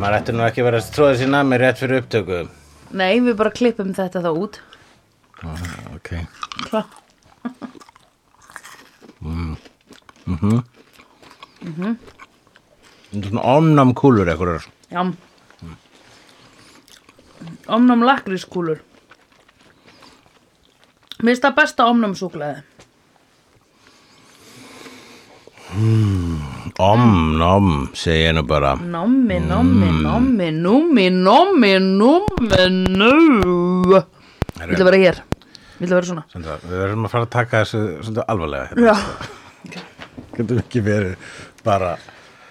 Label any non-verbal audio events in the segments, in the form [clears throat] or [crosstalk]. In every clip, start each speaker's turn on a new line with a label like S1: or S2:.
S1: mættu nú ekki vera að tróða sér nami rétt fyrir upptöku.
S2: Nei, við bara klippum þetta þá út.
S1: Ok.
S2: Klá.
S1: Þetta er svona omnam kúlur ekkur.
S2: Já. Omnum lakrískúlur. Mér finnst það besta omnum súklaði.
S1: Omnam, segi ég nú bara.
S2: Nommi, nommi, nommi, nummi, nommi, nummi, nú. Ég ætla að vera hér. Ég ætla að vera svona.
S1: Sandra, við verðum að fara að taka þessu svolítið alvarlega hérna.
S2: Já.
S1: Getum ekki verið bara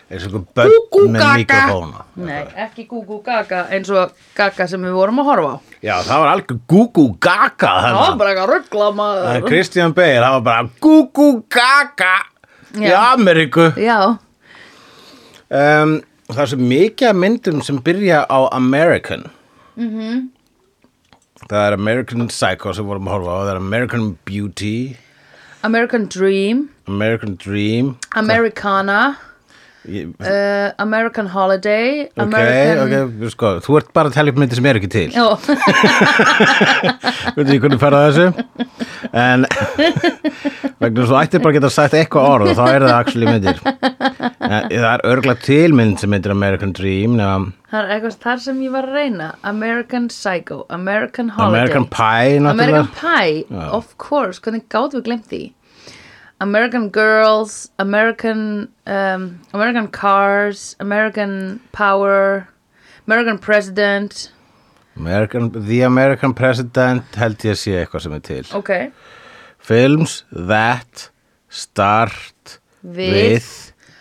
S1: eins og einhver börn með mikrofóna.
S2: Nei, ekki gúgú gaga eins og gaga sem við vorum að horfa á.
S1: Já, það var algjör gúgú-gaga
S2: Það
S1: þarna.
S2: var bara eitthvað ruggla
S1: Það er
S2: maður.
S1: Kristján Bale, það var bara gúgú-gaga í
S2: Já.
S1: Ameríku.
S2: Já,
S1: Um, það er svo mikið af myndum sem byrja á American.
S2: Mm-hmm.
S1: Það er American Psycho sem vorum að horfa á, það er American Beauty,
S2: American Dream,
S1: American Dream.
S2: Americana,
S1: Ég,
S2: uh, American Holiday,
S1: ok,
S2: American...
S1: ok, sko, þú ert bara að tala upp myndir sem eru ekki til.
S2: [laughs] Já,
S1: Þú veit ekki hvernig ferða þessu
S2: [laughs]
S1: En vegna svo ættir bara að geta sagt eitthvað orð og þá er það
S2: [laughs]
S1: actually myndir en, Það er örgla tilmynd sem myndir American Dream nefn,
S2: það er eitthvað þar sem ég var að reyna American Psycho, American Holiday
S1: American Pie
S2: American
S1: náttúrulega
S2: Pie, of course, hvernig gátt við glemt því American Girls, American um, American Cars American Power American President
S1: American, The American President held ég að sé eitthvað sem er til
S2: Ok,
S1: Films that start
S2: With-
S1: with,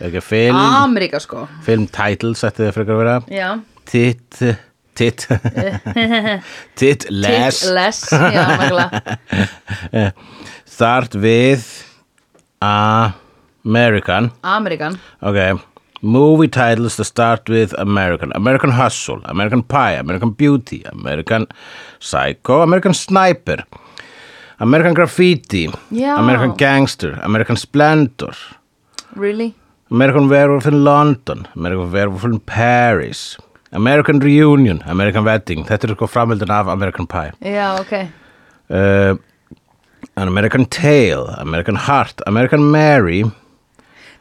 S1: ekki, film,
S2: Ameríka sko
S1: film titles ætti þið frekar að vera
S2: Já,
S1: Tit Tit Tit less
S2: Tit less Já, nákvæmlega.
S1: Start with American.
S2: American
S1: Okay. Movie titles to start with American. American Hustle, American Pie, American Beauty, American Psycho, American Sniper, American Graffiti,
S2: Já.
S1: American Gangster, American Splendor,
S2: Really?
S1: American Werewolf in London, American Werewolf in Paris, American Reunion, American Wedding. Þetta er sko framöldin af American Pie.
S2: Já, ok
S1: Uh, an American Tale, American Heart, American Mary,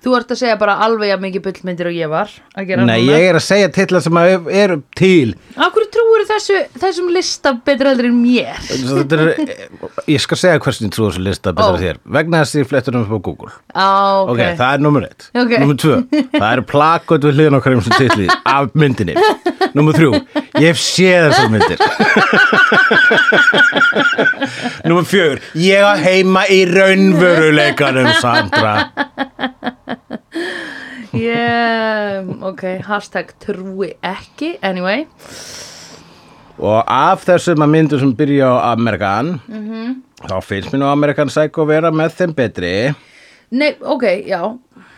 S2: Þú ert að segja bara alveg að mikið bullmyndir og ég var að gera
S1: Nei,
S2: núna.
S1: ég er að segja titla sem að eru til
S2: Af hverju trúir þessu, þessum lista betur heldur en mér?
S1: Svo þetta er, Ég skal segja hversin ég trú þessu lista
S2: Ó.
S1: betur oh. þér Vegna þess að ég flettur um upp á Google
S2: Á, ok.
S1: Ok, það er nummer eitt
S2: Ok.
S1: Nummer tvö, það eru plakot við hliðin okkar um sem titli af myndinni Nummer þrjú, ég hef séð þessar myndir Nummer fjögur, ég á heima í raunvöruleikanum, Sandra
S2: Yeah, ok, hashtag trúi ekki, anyway.
S1: Og af þessum að myndum sem byrja á Amerikan
S2: Mhm.
S1: Þá finnst mér nú Amerikan Psycho vera með þeim betri
S2: Nei, ok, já.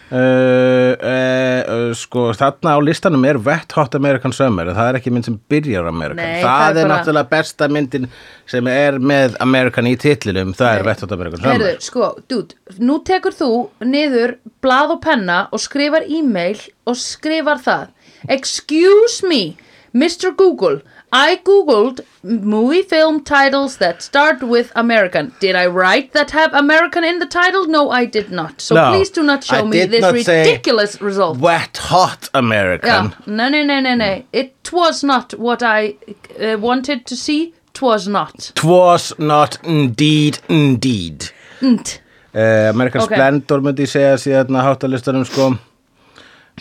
S1: Uh, uh, uh, sko þarna á listanum er Wet Hot American Summer en það er ekki mynd sem byrjar Amerikan
S2: Nei,
S1: það,
S2: það er
S1: er
S2: bara-
S1: náttúrulega besta myndin sem er með Amerikan í titlinum það er Wet Hot American Summer
S2: Herðu, sko, dude, nú tekur þú niður blað og penna og skrifar e-mail og skrifar það. Excuse me, Mr. Google, I googled movie film titles that start with American. Did I write that have American in the title? No, I did not. So
S1: No,
S2: please do not show
S1: I
S2: me
S1: did
S2: this
S1: not say-
S2: ridiculous result.
S1: Wet Hot American
S2: Yeah. No, no, no, no, no. It was not what I uh, wanted to see. Twas not.
S1: was not indeed indeed
S2: Nt.
S1: uh, American
S2: Ok.
S1: Splendor myndi ég segja síðan að háttalistanum sko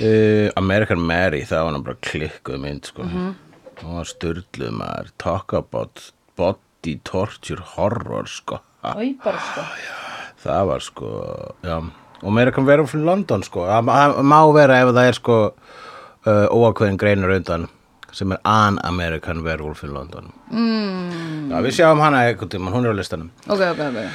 S1: uh, American Mary það var hann bara klikkuð mynd sko hún var styrluð maður talk about body torture horror sko ha
S2: Oj, bara sko.
S1: það var sko já. og meira kann vera frá London sko það það má vera ef það er sko uh, óákveðin greinur undan sem er an American Werewolf in London mm. já, við sjáum hana einhvern tímann, hún er á listanum
S2: Ok, ok, ok.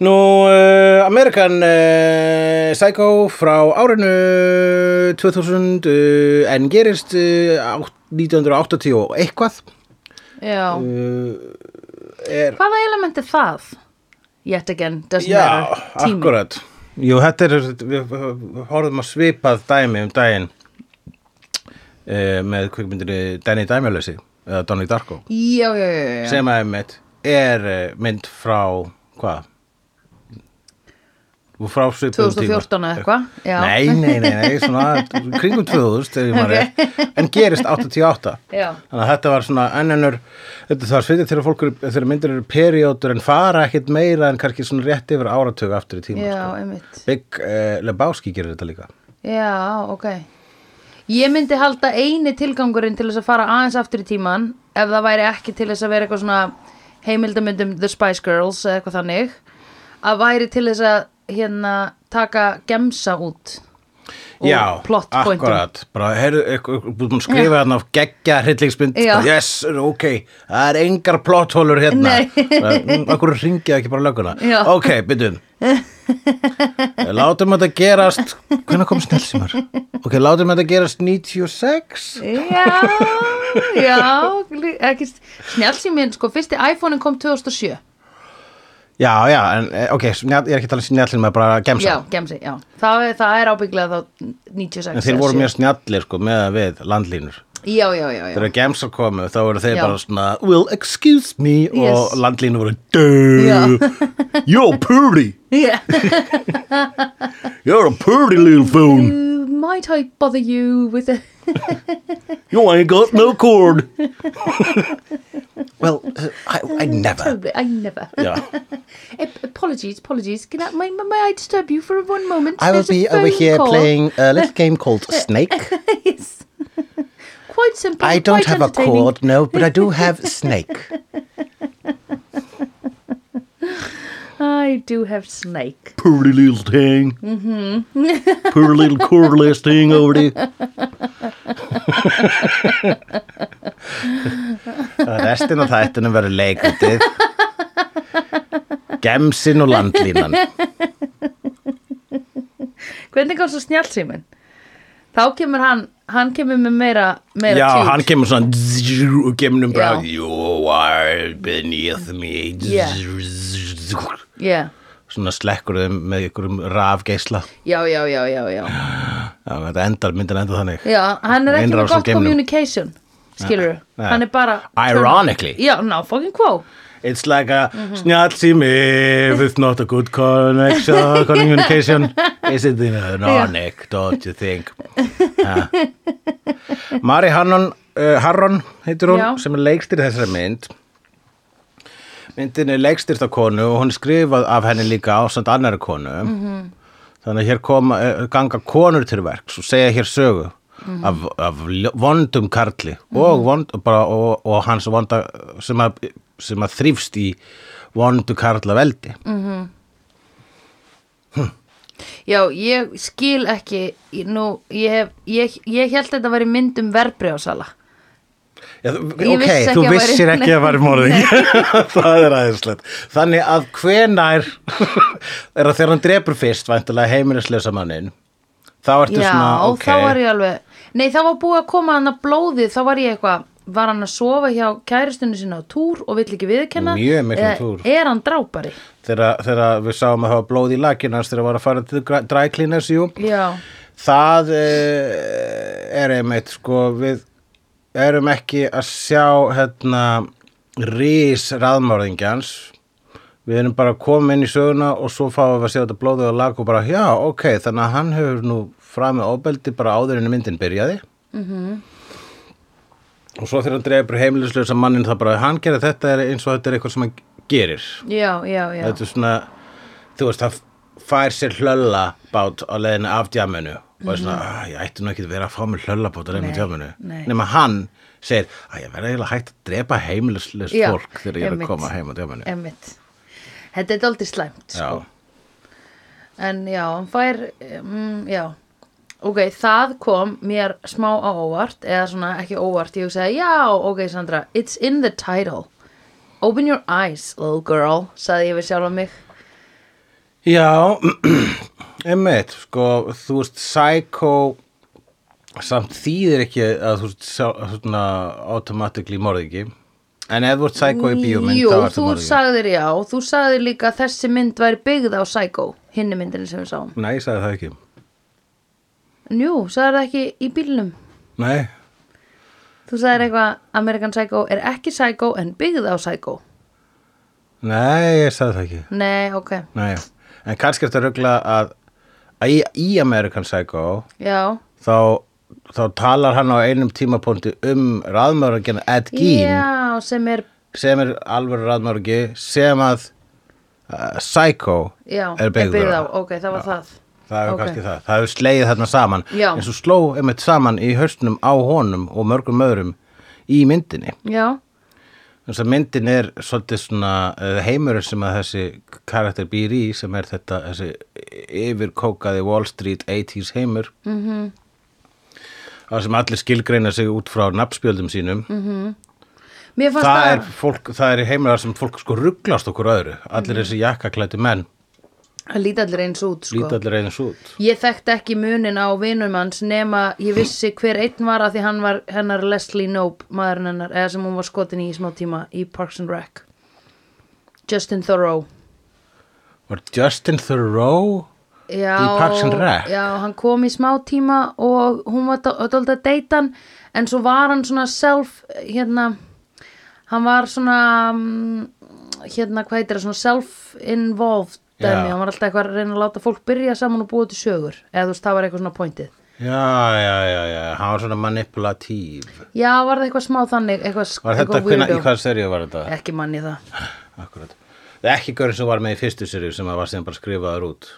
S1: nú, uh, American uh, Psycho frá árinu 2000 uh, en gerist uh, átt- 1980 og eitthvað
S2: Já.
S1: Uh, er
S2: Hvaða element er það? Yet again, doesn't
S1: Já,
S2: matter. Tími.
S1: akkurat Jú, þetta er, við horfum að svipað dæmi um daginn uh, með kvikmyndinni Danny Dæmjölesi eða Donnie Darko
S2: já, já, já, já, já.
S1: sem að einmitt er eh, mynd frá hvað? Og frá svipum
S2: 2014 eða eitthvað, já.
S1: Nei, nei, nei, nei, svona kringum 2000 ef ég maður rétt, en gerist 88
S2: Já.
S1: Þannig að þetta var svona ennennur þetta það var sviðið þegar fólk eru- þegar myndir eru periódur en fara ekkit meira en kannski svona rétt yfir áratug aftur í tíma
S2: já,
S1: sko.
S2: einmitt
S1: Big uh, Lebowski gerir þetta líka
S2: Já, ok. Ég myndi halda eini tilgangurinn til þess að fara aðeins aftur í tíman ef það væri ekki til þess að vera eitthvað svona heimildamöndum The Spice Girls eða eitthvað þannig að væri til þess að hérna taka gemsa út og
S1: Já,
S2: plot pointum.
S1: akkurat bara, heyrðu, ykkur- ykkur búin að skrifa hérna á geggja hryllingsmynd,
S2: Já.
S1: yes, ok það er engar plotthólur hérna
S2: Nei.
S1: Bara, mm, okkur ringið ekki bara löguna
S2: Já.
S1: ok, byttum látum þetta gerast hvenær kom snillsímar? ok, látum þetta gerast 96
S2: Já, já, ekki snjálsýminn, sko, fyrsti iPhone-in kom 2007.
S1: já, já, en eh, ok, snjall, ég er ekki talað snjallin með bara gemsa
S2: Já, gemsi, já. Það, er- það er ábygglega þá 96.
S1: en þeir
S2: eða
S1: voru
S2: sjö.
S1: mjög snjallir sko, með að við landlínur
S2: Já, já, já, já.
S1: þegar gemsar komu þá voru þeir
S2: Já.
S1: bara svona well excuse me
S2: Yes.
S1: og landlínu voru
S2: [laughs]
S1: duh you're pretty [laughs]
S2: Yeah.
S1: you're a pretty little phone
S2: Might I bother you with a...
S1: you ain't got no cord well uh, I, I never
S2: Totally, I never.
S1: [laughs] yeah.
S2: Ap- apologies, apologies. Can I, may, may I disturb you for one moment?
S1: I will
S2: There's a
S1: be over
S2: phone
S1: here
S2: call.
S1: playing a little game called
S2: [laughs]
S1: Snake
S2: Yes. quite simple.
S1: I don't
S2: quite
S1: have a
S2: entertaining.
S1: cord no but I do have Snake
S2: I do have snake.
S1: pretty little thing mm-hmm. poor little cordless thing over there restin af þættunum verður leikritið gemsin og landlínan
S2: Hvernig kom svo snjálsýmin? Þá kemur hann, hann kemur með meira, meira
S1: já,
S2: tjúk.
S1: hann kemur svona zzz, og kemur um bara
S2: Já.
S1: you are beneath me
S2: Yeah. Yeah.
S1: svona slekkur þeim með ykkurum rafgeisla
S2: Já, já, já, já, já.
S1: já, þetta endar, myndin enda þannig
S2: Já, hann er ekki
S1: Einrás
S2: með
S1: á
S2: gott
S1: geimnum.
S2: communication. Skilur
S1: Nei.
S2: Hann er bara...
S1: Ironically.
S2: Já, ná, fucking quo.
S1: It's like a snjallsími with not a good connection, communication. Is it ironic, don't you think? Ha. Mari Hannon, uh, Harron heitir hún,
S2: Já.
S1: sem er leikstir þessari mynd. Myndin er leikstyrst af konu og hún er skrifað af henni líka ásand annari konu. Þannig að hér koma, eh, ganga konur til verks og segja hér sögu af, af ljó- vondum karli
S2: Mhm.
S1: og, vond, bara, og, og hans vonda sem að, sem að þrýfst í vondu karla veldi.
S2: Mm. Já, ég skil ekki nú, ég, hef, ég, ég held að þetta væri mynd um verbreyfasala
S1: Já, þú-
S2: Ég
S1: ok,
S2: vissi ekki
S1: þú
S2: að væri-
S1: vissir ekki að væri morðing [laughs] það er aðeinslegt þannig að hvenær [laughs] er að þegar hann drepur fyrst væntulega heimilislösa mannin þá ertu
S2: Já,
S1: svona, ok
S2: þá var ég alveg Nei, þá var búið að koma hann að blóðið þá var ég eitthvað, var hann að sofa hjá kæristunni sinna á túr og vill ekki viðkenna
S1: Mjög miklum
S2: Eða
S1: túr.
S2: Er hann drápari?
S1: þegar, þegar við sáum að hafa blóð í lakinans þegar var að fara til gra- dry cleaners jú,
S2: Já,
S1: það eh, er einmitt sko við erum ekki að sjá hérna rís raðmörðingjans við erum bara komin inn í söguna og svo fáum við að sjá þetta blóðið og lag og bara já ok þannig að hann hefur nú framið ofbeldi bara áður en myndin byrjaði og svo þegar hann dreifur heimilislega mannin það bara hann gerir þetta er eins og þetta er eitthvað sem hann gerir
S2: já, já, já
S1: þetta er svona þú veist, það fær sér hlöllabát á leiðinu af djáminu og er svona, "Ah, ég ætti nú ekki að vera að fá mér hlöllabát á
S2: Mhm.
S1: leiðinu af
S2: Nei,
S1: djáminu
S2: nei.
S1: nema hann segir, að ég verði eiginlega hægt að drepa heimilisleis
S2: Já,
S1: fólk þegar ég er að
S2: einmitt.
S1: koma heim á djáminu
S2: Emmitt Þetta er daldið slæmt
S1: já,
S2: sko. En já, hann fær mm, Já Ok, það kom mér smá á óvart eða svona ekki óvart, ég hugsaði já, ok Sandra, it's in the title Open your eyes, little girl sagði ég við sjálfa mig
S1: já [clears throat] einmitt, sko, þú veist Psycho samt þýðir ekki að þú veist sjá- svona automatically morðingi en ef þú ert Psycho í bíómynd
S2: Jú,
S1: þá ertu
S2: þú
S1: morðingi.
S2: sagðir já, þú sagðir líka að þessi mynd væri byggð á Psycho hinni myndinni sem við sáum
S1: Nei, ég sagði það ekki
S2: En Jú, sagðir það ekki í bílnum
S1: Nei,
S2: Þú
S1: Mm.
S2: sagðir eitthvað American Psycho er ekki Psycho en byggð á Psycho
S1: Nei, ég sagði það ekki
S2: Nei, ok,
S1: Nei, en kannski eftir að rugla að, að í, í American Psycho
S2: já
S1: þá, þá talar hann á einum tímapunkti um raðmörgin Ed Gein
S2: Já, sem er,
S1: sem er alveg raðmörgi sem að uh, Psycho
S2: já,
S1: er byggður
S2: byggð á
S1: á.
S2: Ok, það var það
S1: Það er
S2: Ok.
S1: kannski það. Það hefur slegið þarna saman.
S2: Já.
S1: En svo sló einmitt saman í höstnum á honum og mörgum öðrum í myndinni.
S2: Já,
S1: Þess að myndin er svolítið svona eh, heimurinn sem að þessi karakter býr í sem er þetta þessi yfirkókaði Wall Street 80s heimur. Mm -hmm. Það sem allir skilgreina sig út frá nafnspjöldum sínum. Mm -hmm.
S2: mér fannst
S1: það, er
S2: það
S1: fólk, það er í heimur þar sem fólk sko rugglast okkur öðru. Allir þessi jakkaklæti menn
S2: Það líti allir eins út, sko
S1: líta allir eins út.
S2: Ég þekkti ekki munin á vinum hans nema ég vissi hver einn var að því hann var hennar Leslie Knope, maðurinn hennar, eða sem hún var skotin í í smá tíma í Parks and Rec. Justin Thoreau.
S1: Var Justin Thoreau...
S2: Já,
S1: Í Parks and Rec?
S2: Já, hann kom í smá tíma og hún var dólda að deyta hann en svo var hann svona self, hérna, hann var svona, mm, hérna, hvað heitir það, svona self-involved
S1: Já.
S2: dæmi, hann var alltaf eitthvað að reyna að láta fólk byrja saman og búa til sögur, eða þú veist, það var eitthvað svona pointið.
S1: Já, já, já, já, hann var svona manipulatív.
S2: Já, var það eitthvað smá þannig, eitthvað
S1: Var þetta, hvena, í hvaða seríu var þetta?
S2: Ekki manni það.
S1: Akkurat. Það er ekki görinn sem var með í fyrstu seríu sem að var sem bara skrifaður út.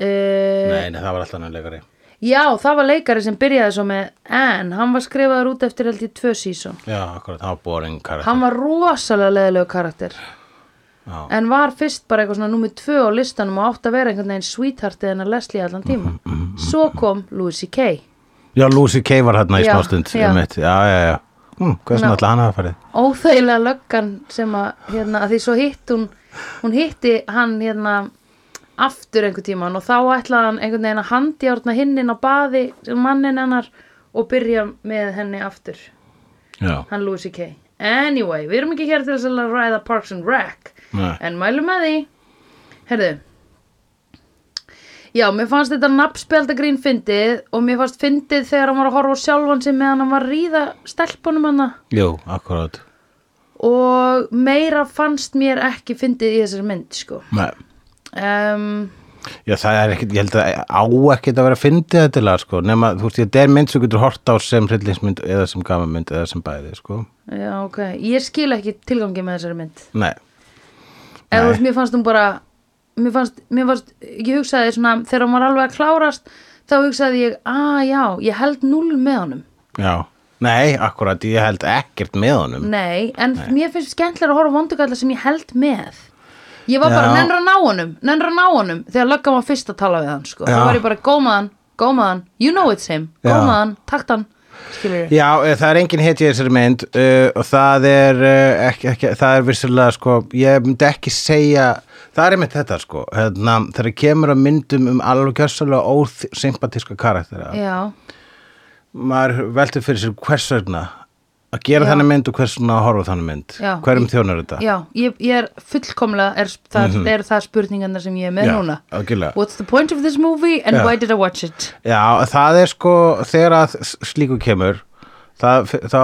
S2: Uh,
S1: Nei, nei, það var alltaf annan leikari.
S2: já, það var leikari sem byrjaði svo með en hann var skrifaður út eftir held ég tvö sísón.
S1: Já, akkurat, hann var boring karakter.
S2: Hann var rosalega leðilegu karakter.
S1: Já.
S2: En var fyrst bara eitthvað svona númið tvö á listanum og átt að vera einhvern veginn sweetheartið en að Leslie allan tíma. Svo kom Louis C.K.
S1: Já, Lucy Kay var hérna í
S2: Já,
S1: smástund,
S2: já.
S1: um eitt. Já, já, já. Hm, hvað
S2: Ná.
S1: er svona alltaf hann hafa farið?
S2: óþægilega löggan sem að, hérna, að því svo hitt hún, hún hitti hann hérna aftur einhvern tíman og þá ætlaði hann einhvern veginn að handjárna hinnin á baði mannin hennar og byrja með henni aftur,
S1: Já,
S2: hann Louis C.K. Anyway, við erum ekki hér til þess að ræða Parks and Rec
S1: Nei.
S2: en mælum með því Herðu Já, mér fannst þetta nafnspjaldagrín fyndið og mér fannst fyndið þegar hann var að horfa á sjálfan sig meðan hann var að ríða stelpunum hann
S1: jú, akkurat.
S2: og meira fannst mér ekki fyndið í þessari mynd sko
S1: Nei.
S2: um,
S1: Já, það er ekkert, ég held að á ekkert að vera fyndið þetta lag, sko, nema, þú veist, þetta er mynd sem þú getur hort á sem hryllingsmynd eða sem gamanmynd eða sem bæði, sko.
S2: já, okay. ég skil ekki tilgangi með þessari mynd
S1: Nei,
S2: eða
S1: Nei.
S2: þú veist, mér fannst hún bara mér fannst, mér fannst, ég hugsaði svona þegar hún var alveg að klárast þá hugsaði ég, að já, ég held null með honum
S1: já. Nei, akkurat, ég held ekkert með honum.
S2: nei, en mér finnst skemmtilega að horfa vondugalla sem ég held með ég var bara
S1: Já.
S2: nennra ná honum nennra ná honum, þegar löggan var fyrst að tala við hann sko, þá
S1: Já.
S2: var ég bara gómaðan, gómaðan you know it's him,
S1: Já.
S2: gómaðan, taktan skilur ég,
S1: Já, eh, það er engin hetja í þessari mynd uh, og það er uh, ekki, ekki, það er vissilega sko, ég myndi ekki segja það er einmitt þetta sko hérna, þegar kemur að myndum um alveg gjössalega ósympatíska karaktera
S2: já
S1: maður veltur fyrir sér hvers vegna að gera
S2: Já.
S1: þannig mynd og hvers vegna að horfa á þannig mynd
S2: Já.
S1: hverjum þjónar þetta
S2: Já, ég, ég er fullkomlega er, það, mm er það spurningarna sem ég er með
S1: Mhm. Já,
S2: núna
S1: algjörlega.
S2: What's the point of this movie and
S1: Já.
S2: why did I watch it?
S1: Já, það er sko þegar að s- slíku kemur það, þá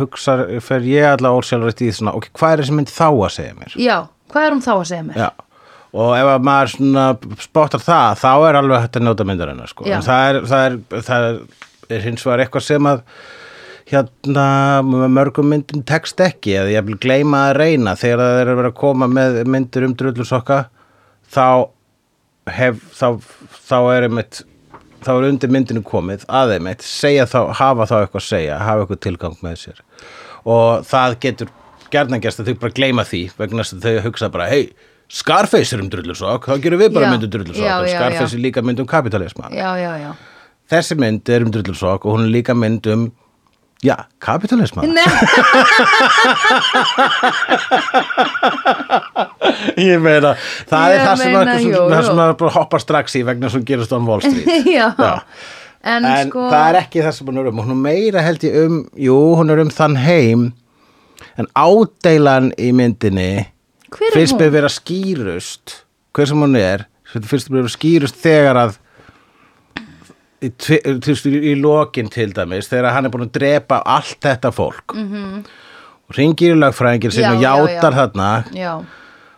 S1: hugsar fer ég allavega ósjálfrætt í því svona ok, hvað er þessi mynd þá að segja mér?
S2: Já, hvað er hún þá að segja mér?
S1: Já, og ef að maður svona spottar það, þá er alveg hægt að njóta myndarinnar, sko.
S2: Já.
S1: En það er, það er, það er, er hins vegar eitthvað sem að hérna með mörgum myndum tekst ekki eða ég vil gleyma að reyna þegar það er að vera að koma með myndir um drullusokka þá hef, þá, þá er einmitt þá er undir myndinu komið aðeim eitt, segja þá, hafa þá eitthvað að segja hafa eitthvað tilgang með sér og það getur gjarnan gerst að þau bara gleyma því vegna þess að þau hugsa bara hei, Scarface er um drullusokk þá gerum við bara
S2: Já,
S1: mynd um drullusokk
S2: já,
S1: en
S2: já,
S1: Scarface
S2: já.
S1: er líka mynd um kapitalisma
S2: Já, já, já [laughs]
S1: þessi mynd er um drullusokk og hún er líka mynd um já, kapitalisma
S2: Nei,
S1: [laughs] ég meina, það er
S2: Ég
S1: það sem,
S2: meina,
S1: meina,
S2: jú,
S1: svona, það
S2: jú.
S1: sem maður bara hoppar strax í vegna sem gerist on Wall Street
S2: [laughs] já.
S1: Já.
S2: En,
S1: en,
S2: sko
S1: það er ekki það sem hún er um hún er meira held ég um, jú, hún er um þann heim en ádeilan í myndinni
S2: Hver er
S1: finnst
S2: hún?
S1: mér vera skýrust hver sem hún er finnst mér vera skýrust þegar að í, tve- þú veist, í, í lokin til dæmis þegar hann er búin að drepa allt þetta fólk mm -hmm. og ringir í lagfræðingir sem
S2: Mhm. Já,
S1: og
S2: já,
S1: játar
S2: já.
S1: þarna
S2: já,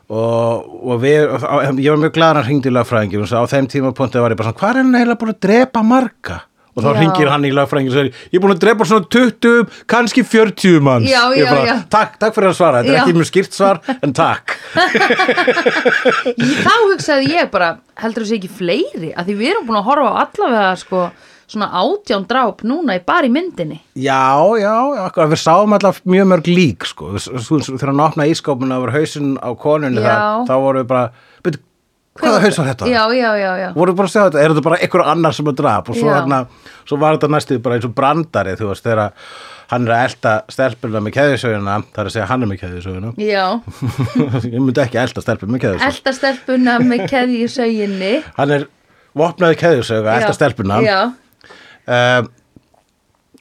S1: og, og við, á- ég var mjög glaður að hann hringdi í lagfræðingir og svo á þeim tímapunkti var ég bara svona hvað er hann eiginlega búin að drepa marga og þá
S2: Já.
S1: hringir hann í lagfræðingir og segir ég er búin að drepa svona 20, kannski 40 manns
S2: Já,
S1: Ég
S2: já,
S1: bara,
S2: já.
S1: takk, takk fyrir að svara, þetta er
S2: Já.
S1: ekki mjög skýrt svar en
S2: [laughs]
S1: takk
S2: Ég- þá hugsaði ég bara heldur þessi ekki fleiri, að því við erum búin að horfa á allavega sko svona átján dráp núna í bara í myndinni
S1: Já, já, akkur, við sáum alltaf mjög mörg lík sko. Við- þú- þú- þegar hann opnaði ískópuna og var hausinn á konunni
S2: Já.
S1: þar, þá vorum við bara, byrju, hvaða haus var þetta?
S2: Já, já, já, já
S1: Vorum við bara að segja þetta, er þetta bara einhver annar sem að drap og svo,
S2: Já.
S1: hana, svo var þetta næstuð bara eins og brandari þú veist, þegar hann er að elta stelpuna með keðisöguna, það er að segja hann er með keðisöguna
S2: Já,
S1: [laughs] ég myndi ekki elta stelpuna með keðisöguna
S2: elda stelpuna með keði í sauginni
S1: hann er vopnaði keðisögu að elta stelpuna
S2: Já,
S1: um,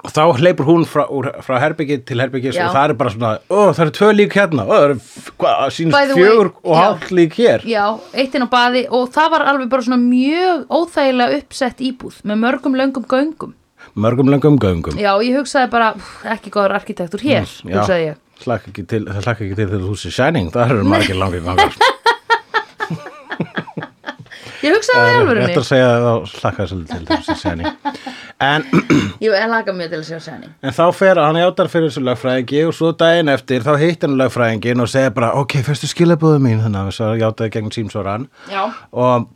S1: þá hleypur hún frá, úr, frá herbyggi til herbyggis
S2: Já.
S1: og það er bara svona, ó, það eru tvö lík hérna ó, það eru, f- hvað,
S2: By the
S1: sínst
S2: way,
S1: fjögur og
S2: já.
S1: hálft lík hér
S2: já, eitt inn á baði og það var alveg bara svona mjög óþægilega uppsett íbúð með mörgum löngum göngum
S1: mörgum langum göngum
S2: Já, ég hugsaði bara, "Pff, ekki góður arkitektur hér,
S1: Mm,
S2: hugsaði ég
S1: slakka ekki til, það slakka ekki til þegar þú sé Shining, það eru margir
S2: [laughs]
S1: langir gangar
S2: Ég hugsaði það í
S1: rétt
S2: alvörunni
S1: að segja þá slakka þessu til þegar þú sé Shining en, [clears throat]
S2: Ég ég laka mjög til að sjá sæni
S1: en þá fer hann játar fyrir þessu lögfræðingi og svo daginn eftir þá heitt hann lögfræðingin og segir bara ok, fyrstu skilabóðu mín þannig að það játaði gegn símsvaran
S2: Já,
S1: og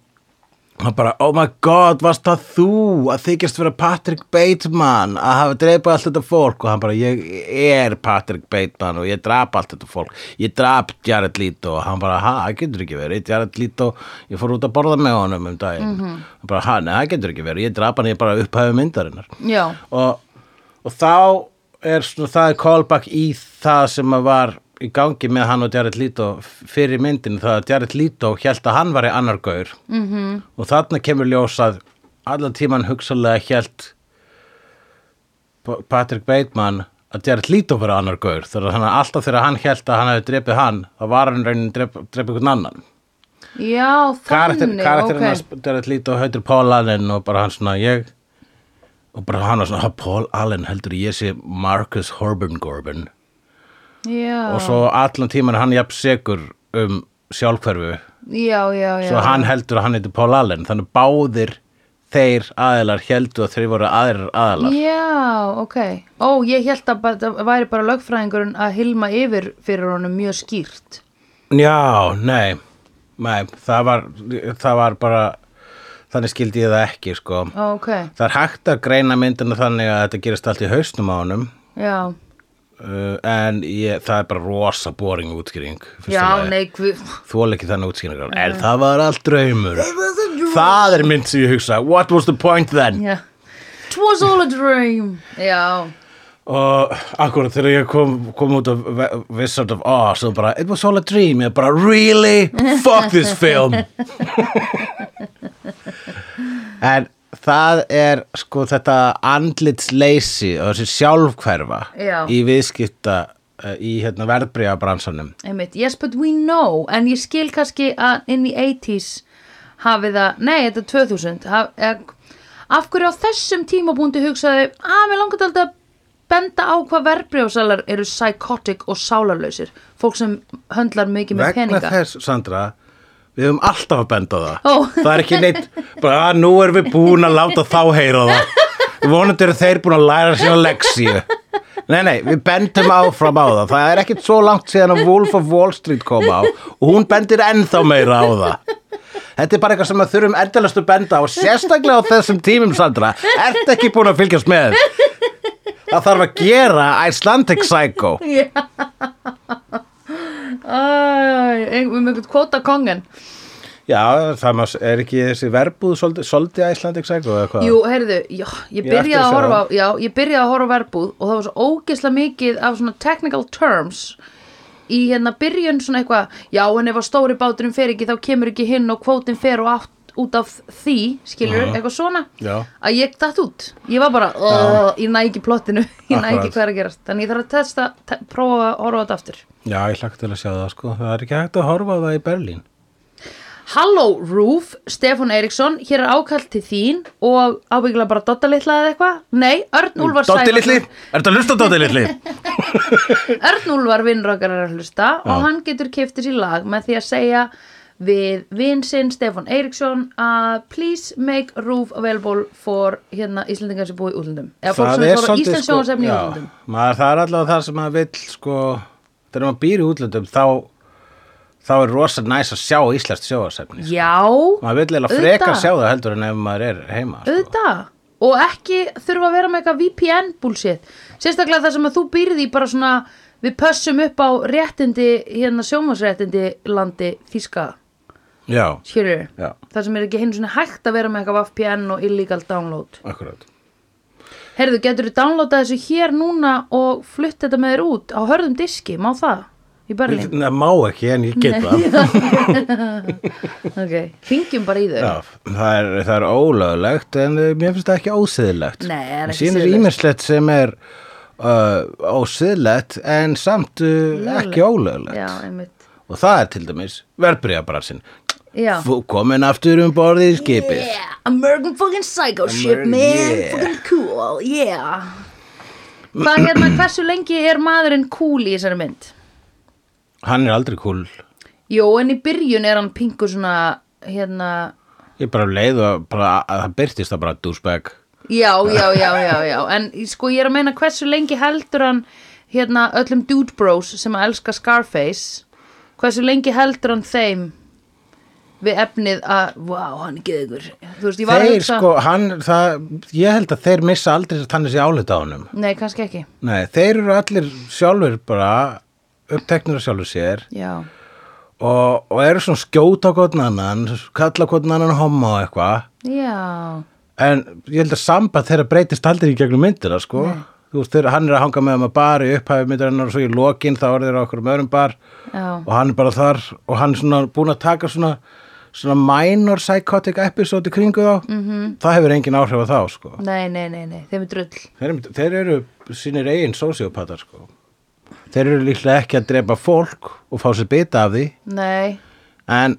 S1: hann bara, oh my god, varst það þú að þykjast vera Patrick Bateman að hafa dreipað allt þetta fólk og hann bara, ég er Patrick Bateman og ég drap allt þetta fólk, ég drap Jared Leto og hann bara, ha, það getur ekki verið Jared Leto, ég fór út að borða með honum um daginn, hann bara, ha, nei, það getur ekki verið ég drap hann, ég bara upphæfi myndarinnar
S2: já,
S1: og, og þá er svona, það er callback í það sem að var í gangi með hann og Jared Leto fyrir myndinu það að Jared Leto held að hann var í annar gaur -hmm. og þarna kemur ljósað allan tíman hugsalega held Patrick Bateman að Jared Leto var í annar gaur þannig að hann- alltaf þegar hann held að hann hefði drepið hann þá var hann raunin drepa, drepa ykkur annan
S2: já,
S1: karakter,
S2: þannig,
S1: karakterin
S2: ok
S1: hans Jared Leto heitir Paul Allen og bara hann svona ég og bara hann var svona "Ha, Paul Allen heldur ég sé Marcus Horban Gorban
S2: Já,
S1: og svo allan tíman er hann jafn segur um sjálfhverfu
S2: já, já, já
S1: svo hann heldur að hann heitir Paul Allen þannig báðir þeir aðilar heldur að þeir voru aðrir aðilar
S2: Já, ok Ó, ég held að bara- það væri bara lögfræðingurinn að hilma yfir fyrir honum mjög skýrt
S1: já, nei, nei það, var, það var bara þannig skildi ég það ekki sko
S2: Ó, Ok,
S1: það er hægt að greina myndina þannig að þetta gerist allt í hausnum á honum
S2: já
S1: Uh, en ég, það er bara rosa boring útskýring
S2: Já, nei, guð
S1: Þól ekki þannig útskýringar En það var allt draumur Það er mynd sem ég hugsa What was the point then?
S2: Já It was all a dream Já,
S1: Og akkurat þegar ég kom, kom út af Ve- Wizard of Oz og bara It was all a dream Ég bara really? Fuck this film [laughs] En það er sko þetta andlitsleysi og þessi sjálfhverfa
S2: Já.
S1: í viðskipta uh, í hérna, verðbríðabransanum
S2: einmitt Yes, but we know En ég skil kannski að inn í 80s hafi það Nei, þetta er 2000 haf, eh, Af hverju á þessum tímabúndi hugsaði að mér langar þetta að benda á hvað verbrjósalar eru psychotic og sálarlausir fólk sem höndlar mikið með
S1: vegna
S2: [laughs] peninga
S1: þess, Sandra við höfum alltaf að benda á það
S2: Ó.
S1: það er ekki neitt, bara að nú erum við búin að láta þá heyra það vonandi eru þeir búin að læra sína leksíu nei, nei, við bendum áfram á það það er ekkit svo langt síðan að Wolf of Wall Street kom á og hún bendir ennþá meira á það Þetta er bara eitthvað sem við þurfum endalaust að benda á sérstaklega á þessum tímum, Sandra Ertu ekki búin að fylgjast með? Það þarf að gera Icelandic Psycho
S2: Æ, um einhvern kvóta kongen
S1: Já, það má, er ekki þessi verbúð svolítið, svolítið Icelandic Psycho eða hvað?
S2: Jú, heyrðu, já, ég
S1: Ég er eftir
S2: byrjaði
S1: að
S2: að
S1: sjá
S2: horfa á, já, ég byrjaði að horfa á verðbúð og það var svo ógeðslega mikið af svona technical terms í hérna byrjun svona eitthvað já, en ef að stóri báturinn fer ekki þá kemur ekki hinn og kvótinn fer og átt út af því, skilur, eitthvað svona
S1: Já.
S2: að ég datt út, ég var bara uh, ég næ ekki plottinu, [laughs] ég næ ekki
S1: Akkurat.
S2: hvað er að gerast þannig ég þarf að testa, te prófa að horfa á þetta aftur
S1: Já, ég hlakka til að sjá það sko. Það er ekki hægt að horfa á það í Berlín.
S2: Halló Roof, Stefán Eriksson hér er ákall til þín og ábyggilega bara Dotta litla eða eitthvað Nei, Örn Úlfar
S1: Dotti Mm, litli,
S2: Sævarsson
S1: er þetta að hlusta
S2: [laughs]
S1: Dotti litli?
S2: Örn Úlfar vinnur okkar er að hlusta og hann getur keftis í lag með því að segja við vinsinn Stefán Eriksson að please make roof available for hérna Íslendingar sem búi í útlundum eða fólk sem er fór á Íslands sjónasefni í
S1: sko, já,
S2: útlundum
S1: maður, það er allavega það sem maður vill sko, þegar maður býr í útlöndum þá, þá er rosa næs að sjá Íslands sjóasefni sko.
S2: Já,
S1: maður vill eða
S2: Auðvitað.
S1: freka sjá það heldur en ef maður er heima sko.
S2: auðvitað og ekki þurfa að vera með eitthvað VPN bullshit sérstaklega það sem að þú býrði í bara svona við pössum upp á réttindi hérna sjómasréttindi landi þýska
S1: já,
S2: skilur
S1: Já.
S2: það sem er ekki hinn svona hægt að vera með eitthvað VPN og illegal download
S1: akkurat
S2: heyrðu getur þú downloadað þessu hér núna og flutt þetta með þér út á hörðum diski, má það í Berlín
S1: það má ekki en ég get það
S2: ok, hringjum bara í þau
S1: Já, það er, það er ólöglegt en uh, mér finnst það ekki ósiðlegt.
S2: Nei, það er ekki
S1: Sýnir
S2: siðlegt.
S1: ímislegt sem er uh, ósiðlegt en samt uh, ekki ólöglegt.
S2: já, einmitt
S1: Og það er til dæmis verbreyðabransinn.
S2: já.
S1: Komin aftur um borðið í skipið.
S2: Yeah, American fucking psycho shit,
S1: American-
S2: man.
S1: yeah.
S2: Fucking cool, yeah. Hvað hérna, hversu lengi er maðurinn cool í þessari mynd?
S1: Hann er aldrei kúl.
S2: Jó, en í byrjun er hann pingu svona, hérna,
S1: Ég bara leið og bara, að það byrtist það bara dúsbæk.
S2: já, já, já, já, já. En sko, ég er að meina hversu lengi heldur hann, hérna, öllum dude bros sem að elska Scarface, hversu lengi heldur hann þeim við efnið að, wow, hann er geðugur. Þú veist, ég var að
S1: Þeir
S2: hugsa,
S1: sko, hann, það, ég held að þeir missa aldrei þannig sé álita á honum.
S2: nei, kannski ekki,
S1: Nei, þeir eru allir sjálfur bara uppteknur af sjálfur sér.
S2: já.
S1: og, og eru svona skjóta hvort annan, kalla hvort annan homo og eitthvað,
S2: Já,
S1: en ég held að samband þeirra breytist aldrei í gegnum myndina, sko þú veist, þeirra, hann er að hanga með um að bar í upphæfi myndarinnar og svo í lokin þá eru þeirra okkur um öðrum bar
S2: já.
S1: og hann er bara þar og hann er svona búin að taka svona svona minor psychotic episode í kringu þá, -hmm. það hefur engin áhrif á þá, sko
S2: Nei, nei, nei, nei, þeim er drull
S1: þeir, eru- þeir eru sínir eigin sociopatar, sko þeir eru líklega ekki að drepa fólk og fá sér bita af því
S2: Nei,
S1: en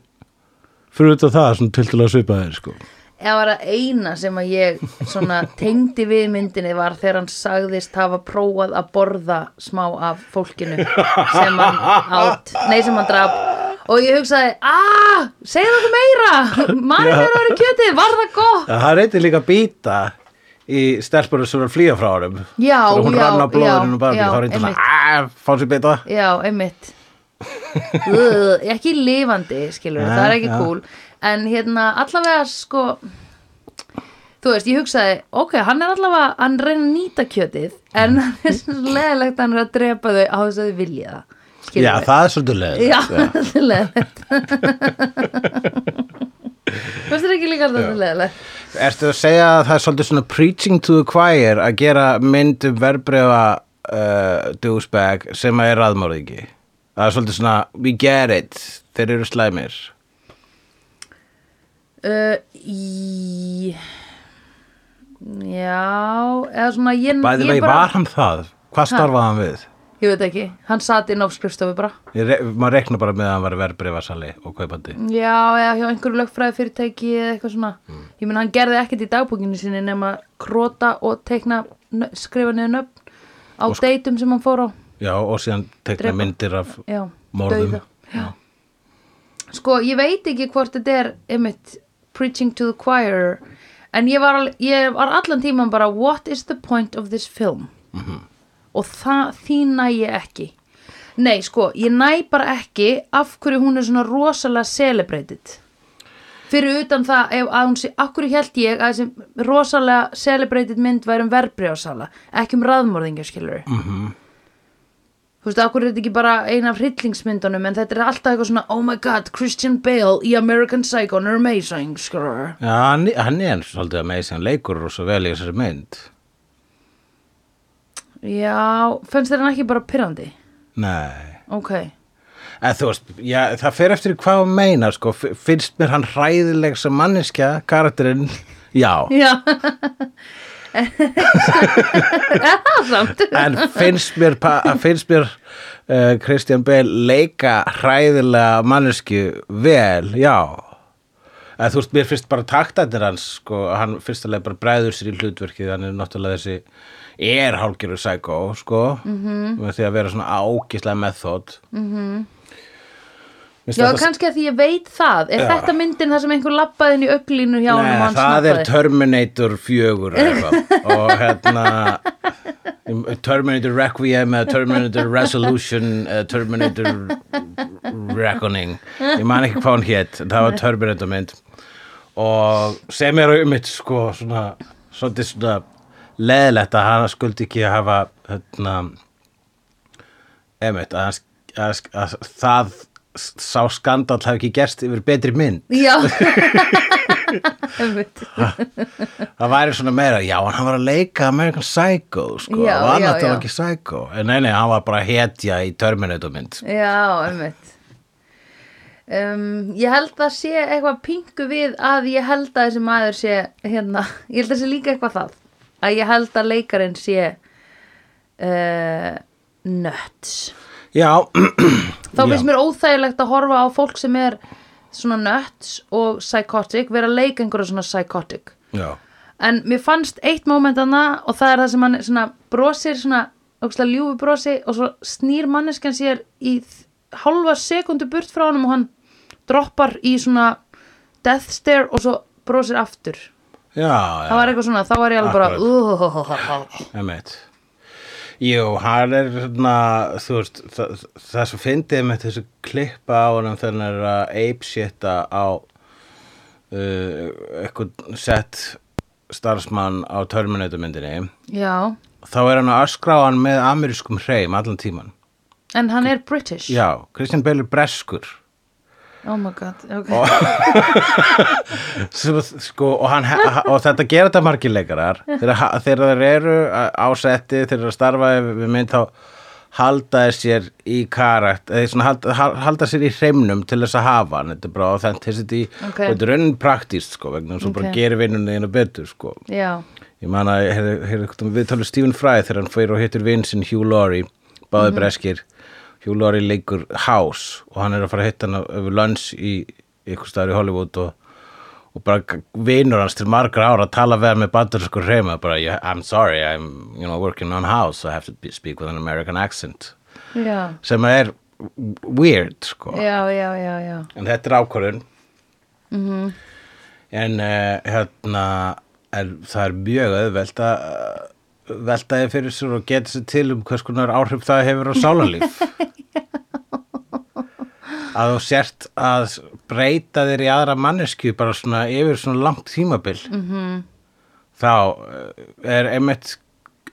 S1: fyrir út af það svona tildulega svipaðir sko
S2: það var að eina sem að ég svona tengdi við myndinni var þegar hann sagðist hafa prófað að borða smá af fólkinu sem hann átt, nei sem hann draf og ég hugsaði, aaa, segðu okkur meira mann er orðið kjötið, var það gott
S1: það reyndir líka að býta í stelpur sem er að flýja frá honum
S2: Já,
S1: þegar hún
S2: já,
S1: rann á blóðurinn
S2: já,
S1: og bara
S2: já,
S1: þá reyndir
S2: einmitt.
S1: svona að "Ah, fá sér bita
S2: Já, einmitt Ugh, Ekki lifandi, skilur
S1: Nei,
S2: það er ekki
S1: já.
S2: cool En hérna, allavega sko Þú veist, ég hugsaði Ok, hann er allavega, hann reynir að nýta kjötið En hann er svo leðilegt að Hann er að drepa þau á þess að þau vilja það
S1: já
S2: Skilurðu?
S1: það er svolítið sko. leið
S2: Já, það er leðilegt Fannst þér ekki líka að það er leðilegt
S1: [laughs] ertu að segja að það er svolítið svona preaching to the choir að gera mynd um verbreyfa uh, douchebag sem að er raðmörðingi það er svolítið svona we get it þeir eru slæmir
S2: uh, í... Já, eða svona ég, Mm,
S1: bæði
S2: ég
S1: vegi var hann það hvað starfaði hann við
S2: Ég veit ekki, hann sat inn á skrifstofu bara
S1: Ég re maður rekna bara með að hann var verbreyfasali og kaupandi
S2: Já, eða hjá einhverju lögfræði fyrirtæki eða eitthvað svona Ég menn hann gerði ekkert í dagbúkinu sinni nema króta og teikna, nö- skrifa niður nöfn á deytum sem hann fór á
S1: Já, og síðan tekna
S2: Drepa.
S1: myndir af
S2: Já,
S1: morðum.
S2: dauða. Sko, ég veit ekki hvort þetta er einmitt preaching to the choir en ég var, al- ég var allan tíman bara what is the point of this film og það, því næ ég ekki Nei, sko, ég næ bara ekki af hverju hún er svona rosalega celebrated fyrir utan það ef að hún sé, af hverju held ég að þessi rosalega celebrated mynd væri um verbrjósala, ekki um raðmörðingaskilur mm þú veist, akkur er þetta ekki bara eina af hryllingsmyndunum en þetta er alltaf eitthvað svona oh my god, Christian Bale í American Psycho hann er amazing, skrrr
S1: Já, hann, hann er svolítið amazing, hann leikur og svo vel í þessari mynd.
S2: já, fannst þér hann ekki bara pyrrandi
S1: Nei.
S2: ok,
S1: En þú veist, já, það fer eftir því hvað hann meina, sko. F- Finnst mér hann hræðileg sem manneskja, karakterinn? [laughs] Já.
S2: já [laughs] er það samt
S1: [laughs] En finnst mér, pa- finnst mér eh, uh, Christian Bale leika hræðilega mannesku vel? Já. að þú veist, mér finnst bara taktatnir hans sko, hann fyrst alveg bara bræður sér í hlutverkið hann er náttúrulega þessi er hálfgerður sækó, sko -hmm. með því að vera svona ágislega method mm -hmm.
S2: Já, kannski að því ég veit það Er
S1: Já.
S2: þetta myndin þar sem einhver labbaði inn í upplínu hjá honum og
S1: Nei,
S2: hann
S1: það er
S2: snappaði?
S1: Terminator 4 eða eitthvað. og hérna Terminator Requiem eða Terminator Resolution eða Terminator Reckoning ég man ekki hvað hann hétt en það var Terminator mynd og sem er um mitt sko svona, svona, svona leðilegt að hann skuldi ekki að hafa hérna emitt að, hann- að, að það sá skandal hafi ekki gerst yfir betri mynd
S2: Já [laughs] Einmitt.
S1: Það væri svona meira, já, en hann var að leika American Psycho, sko,
S2: Já,
S1: og
S2: já,
S1: annað það
S2: já.
S1: var ekki Psycho, en nei, nei, hann var bara hetja í Terminator mynd.
S2: Já, einmitt um, Ég held að sé eitthvað pingu við að ég held að þessi maður sé hérna, ég held að sé líka eitthvað það að ég held að leikarinn sé uh, nöts
S1: Já, [clears throat]
S2: Þá
S1: Já.
S2: finnst mér óþægilegt að horfa á fólk sem er svona nöts og psychotic vera að leika einhverja svona psychotic
S1: já,
S2: en mér fannst eitt moment anna og það er það sem hann svona brosir svona ógstlega ljúfi brosi og svo snýr manneskjan sér í þ- hálfa sekundu burt frá honum og hann droppar í svona death stare og svo brosir aftur
S1: já, já,
S2: það var eitthvað svona, þá var ég alveg bara
S1: emitt. Jú, hann er svona, þú veist, það, það sem fyndið með þessu klippa á honum þegar hann er að apeshitta á uh, eitthvað sett starfsmann á Terminator myndinni,
S2: já,
S1: þá er hann að öskra á hann með amerískum hreim allan tíman.
S2: en hann er British
S1: Já, Christian Bale er breskur.
S2: oh my god, ok
S1: Sem að, sko, og, hann, og þetta gera þetta margir leikarar þegar, ha- þegar þeir eru á setti þegar þeir eru að starfa við mynd þá halda þeir sér í karakt eða svona halda, hal- halda sér í hreimnum til þess að hafa hann, þetta er bara authenticity
S2: Ok.
S1: og þetta er raunin praktíst sko vegna þess að þú bara
S2: Ok.
S1: gerir vinnunni þínu betur sko
S2: já,
S1: ég man að ég heyrði- heyrði eitthvað um viðtalið Stephen Fry þegar hann fyrir og hittir vinn sinn Hugh Laurie báði breskir Hugh Laurie leikur House og hann er að fara að hitta hann öfur lunch í ykkur staðar í Hollywood og, og bara g- vinur hans til margra ára að tala veða með bandarskur reyma bara "Yeah, I'm sorry, I'm you know, working on House I have to be, speak with an American accent
S2: já
S1: sem er w- weird sko
S2: já, já, já, já
S1: en þetta er ákvörðun en uh, hérna er, það er mjög auðvelt að eh, velta þið fyrir sér og geta sér til um hvers konar áhrif það hefur á sálarlíf að þú sért að breyta þér í aðra mannesku bara svona yfir svona langt tímabil -hmm. þá eh, er einmitt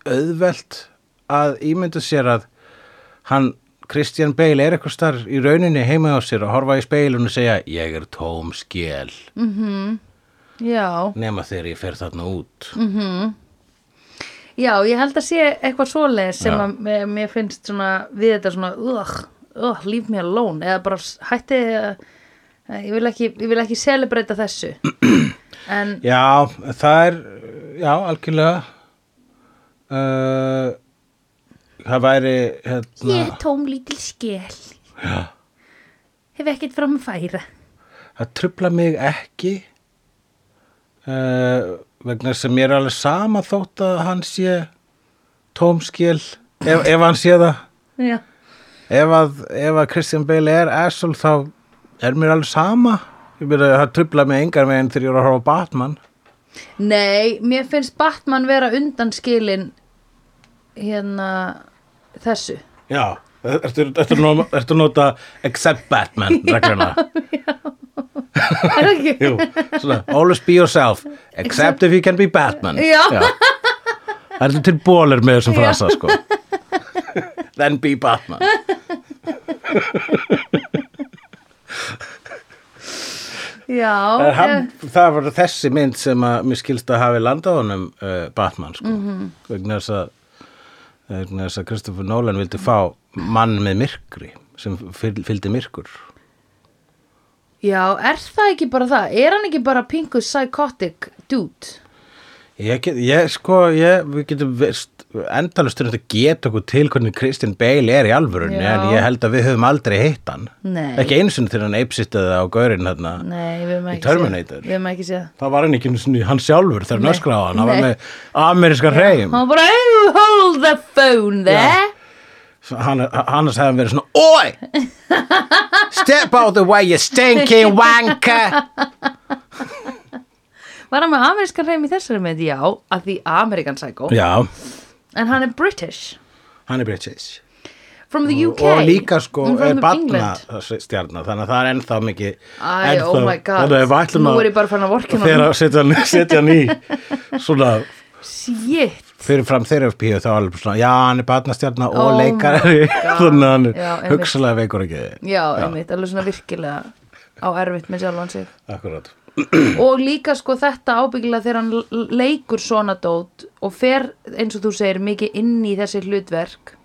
S1: auðvelt að ímynda sér að hann Christian Bale er eitthvað starf í rauninni heima á sér að horfa í speilun og segja ég er tóm skjel
S2: já,
S1: nema þegar ég fer þarna út
S2: já, ég held að sé eitthvað svoleiðis sem
S1: Já.
S2: að mér, mér finnst svona við þetta svona ugh, ugh, leave me alone eða bara s- hætti að- að ég vil ekki, ég vil ekki celebrata þessu
S1: [clears throat]
S2: en
S1: Já, það er já, algjörlega uh, það væri hérna,
S2: ég er tóm lítil skell já. hef ekkert fram að færa
S1: það trubla mig ekki uh, vegna þess að mér er alveg sama þótt að hann sé tóm skjel ef, ef hann sé það
S2: já,
S1: ef að, ef að Christian Bale er asshole þá er mér alveg sama ég byrja að það trubla mig engar meginn þegar ég er að horfa á Batman
S2: nei, mér finnst Batman vera undan skilin hérna
S1: [laughs]
S2: þessu
S1: já, ertu, ertu, ertu, ertu að nota except Batman regluna
S2: er það ekki?
S1: Jú, svona, always be yourself except if you can be Batman
S2: Já.
S1: Það er til bólir með þessum
S2: Já.
S1: frasa sko Then be Batman
S2: já,
S1: Það er
S2: eh,
S1: hann, það var þessi mynd sem að mér skilst að hafi landað honum uh, Batman sko
S2: Mhm.
S1: vegna þess að vegna þess að Kristoffer Nolan vildi fá mann með myrkri sem fyl- fylgdi myrkur
S2: Já, er það ekki bara það? Er hann ekki bara pingu psychotic dude?
S1: ég, get, ég sko, ég, við getum veist, endalust til að geta okkur til hvernig Christian Bale er í alvörunni
S2: Já.
S1: en ég held að við höfum aldrei hitt hann
S2: Nei.
S1: ekki einu sinni til hann eipsittaði á gaurinn hérna
S2: Nei, við höfum
S1: Í
S2: ekki
S1: Terminator.
S2: séð Við höfum ekki séð
S1: það var hann ekki einu sinni hann sjálfur þegar hann
S2: Nei.
S1: öskraði á hann hann var
S2: Nei.
S1: með ameríska hreim
S2: Hann var bara, oh, hold the phone there
S1: hann, annars hefði hann verið svona Oi! Step out the way you stinking wanker
S2: Var hann með amerískan reym í þessari mynd? Já, að því American Psycho
S1: Já,
S2: En hann er British
S1: hann er British
S2: From the UK
S1: og líka sko
S2: And from
S1: er
S2: the
S1: batna
S2: um England.
S1: stjarnar þannig að það er ennþá mikið
S2: Æ,
S1: ennþá,
S2: oh my god
S1: þannig að við ætlum
S2: Nú
S1: að
S2: er ég bara fann að vorkina
S1: þegar að setja hann, setja hann í svona
S2: Shit
S1: fyrir fram þerapíu þá er alveg svona já hann er batnastjarnar og
S2: Oh my
S1: leikari
S2: God.
S1: [laughs] þannig að hann er
S2: Já, einmitt.
S1: hugsalega veikur ekki
S2: Já, einmitt, alveg svona virkilega á erfitt með sjálfan sig
S1: akkurat
S2: og líka sko þetta ábyggilega þegar hann l- leikur svona dót og fer eins og þú segir mikið inn í þessi hlutverk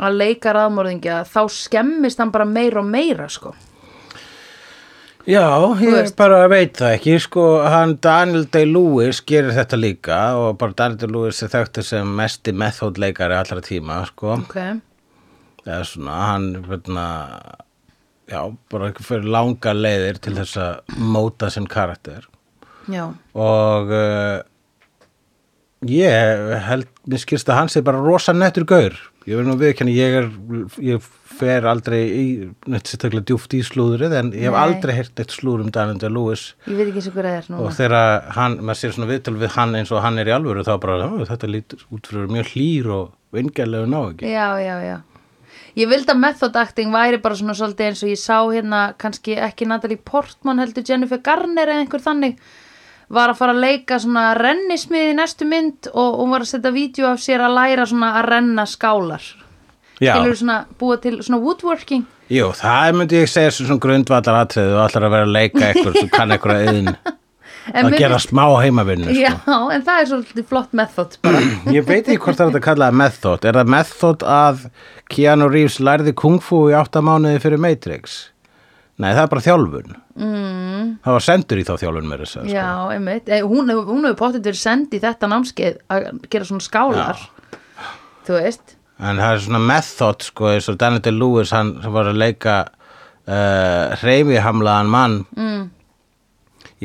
S2: að leika raðmörðingja þá skemmist hann bara meira og meira sko
S1: Já, ég
S2: veist.
S1: bara veit það ekki, sko, hann Daniel Day-Lewis gerir þetta líka og bara Daniel Day-Lewis er þekktur sem mesti methodleikari allra tíma, sko,
S2: ok,
S1: eða svona, hann, veitna, já, bara fyrir langa leiðir til þess að móta sinn karakter
S2: já,
S1: og uh, ég held, mér skilst að hann sé bara rosa nettur gaur, ég verð nú viðkjann, ég er, ég fer aldrei í, neitt sérstaklega djúft í slúðrið, en ég hef
S2: Nei.
S1: aldrei heyrt eitt slúður um Daniel Day-Lewis
S2: ég veit ekki eins og hver það er
S1: og
S2: núna
S1: þegar hann, maður sér svona viðtöl við hann eins og hann er í alvöru þá bara, "Ó, þetta lítur út fyrir að vera mjög hlýr og vingjarlegu ná ekki
S2: já, já, já ég vildi að method acting væri bara svona svolítið eins og ég sá hérna kannski ekki Natalie Portman heldur Jennifer Garner eða einhver þannig var að fara að leika svona rennismið í næstu mynd og hún var að setja vídeo af sér að læra svona að renna skálar
S1: Já,
S2: skilur svona búa til svona woodworking
S1: jú, það myndi ég segja sem svona grundvallar atriðu og allar að vera að leika eitthvað sem kann eitthvað
S2: [laughs]
S1: auðin
S2: en
S1: að
S2: mér
S1: gera
S2: finnst-
S1: smá heimavinnu
S2: já,
S1: sko.
S2: en það er svolítið flott method bara.
S1: [clears throat] Ég veit ekki hvort það er þetta kallað method Er það method að Keanu Reeves lærði kungfú í áttamánuði fyrir Matrix? Nei, það er bara þjálfun mm. Það var sendur í þá þjálfun mér þess að segja, sko.
S2: já, einmitt, Eh, hún hefur hún hefur pottið verið sendið í þetta námskeið að gera svona skálar þú veist,
S1: En það er svona method sko eins og Daniel Day-Lewis hann sem var að leika uh, hreyfihamlaðan mann mm.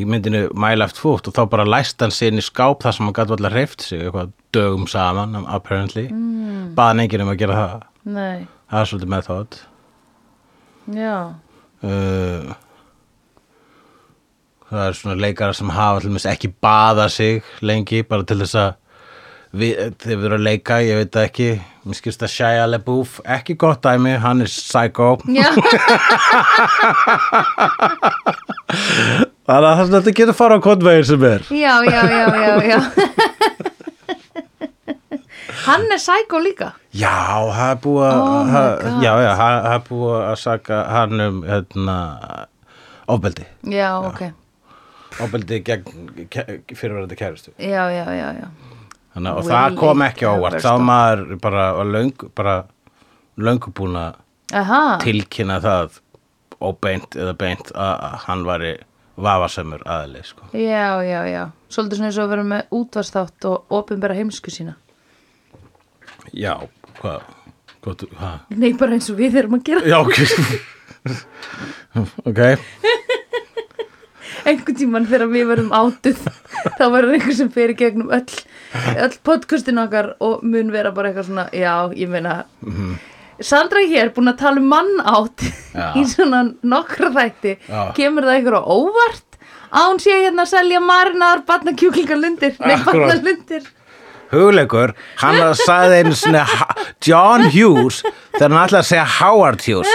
S1: í myndinu Mile After Foot og þá bara læst hann sér inn í skáp þar sem hann gæti allar hreyft sig eitthvað dögum saman um, apparently mm. baðan enginn um að gera það
S2: nei
S1: það er svolítið method [laughs]
S2: já,
S1: uh, það er svona leikara sem hafa til dæmis ekki baða sig lengi bara til þess að við, eh, þeir eru að leika, ég veit það ekki mér skilst að Shia LaBeouf ekki gott dæmi, hann er psycho
S2: já,
S1: þannig að þetta getur fara á kodvegir sem er
S2: já, já, já, já, já. [laughs] hann er sækó líka
S1: já, það er búið að
S2: Oh my
S1: það-
S2: God.
S1: já, já, það það er búið að saka hann um hérna, ofbeldi
S2: já, ok,
S1: ofbeldi gegn ke- fyrirverandi kæristu
S2: já, já, já, já
S1: Þannig, að- og
S2: Will
S1: það kom
S2: it
S1: ekki óvart
S2: ever
S1: þá
S2: stop?
S1: maður bara, var löng, bara löngu búin að
S2: aha,
S1: tilkynna það óbeint eða beint að að hann væri vafasemur aðli sko.
S2: já, já, já svolítið svona eins og að vera með útvarsþátt og opinbera heimsku sína
S1: já, hvað hvað, hvað
S2: Nei, bara eins og við erum að gera
S1: já, ok [laughs] ok,
S2: einhvern tímann þegar við verðum átuð þá verður einhver sem fer í gegnum öll, öll podcastin okkar og mun vera bara eitthvað svona, já, ég meina Sandra er hér búin að tala um mann átt
S1: Mhm. Já.
S2: í svona nokkra þætti
S1: Já.
S2: kemur það einhver á óvart að hún sé hérna að selja marinar barnakjúklingalundir, nei,
S1: Akkúrat.
S2: barnalundir
S1: hugleikur hann saði einu sinni Ha- John Hughes þegar hann ætlaði að segja Howard Hughes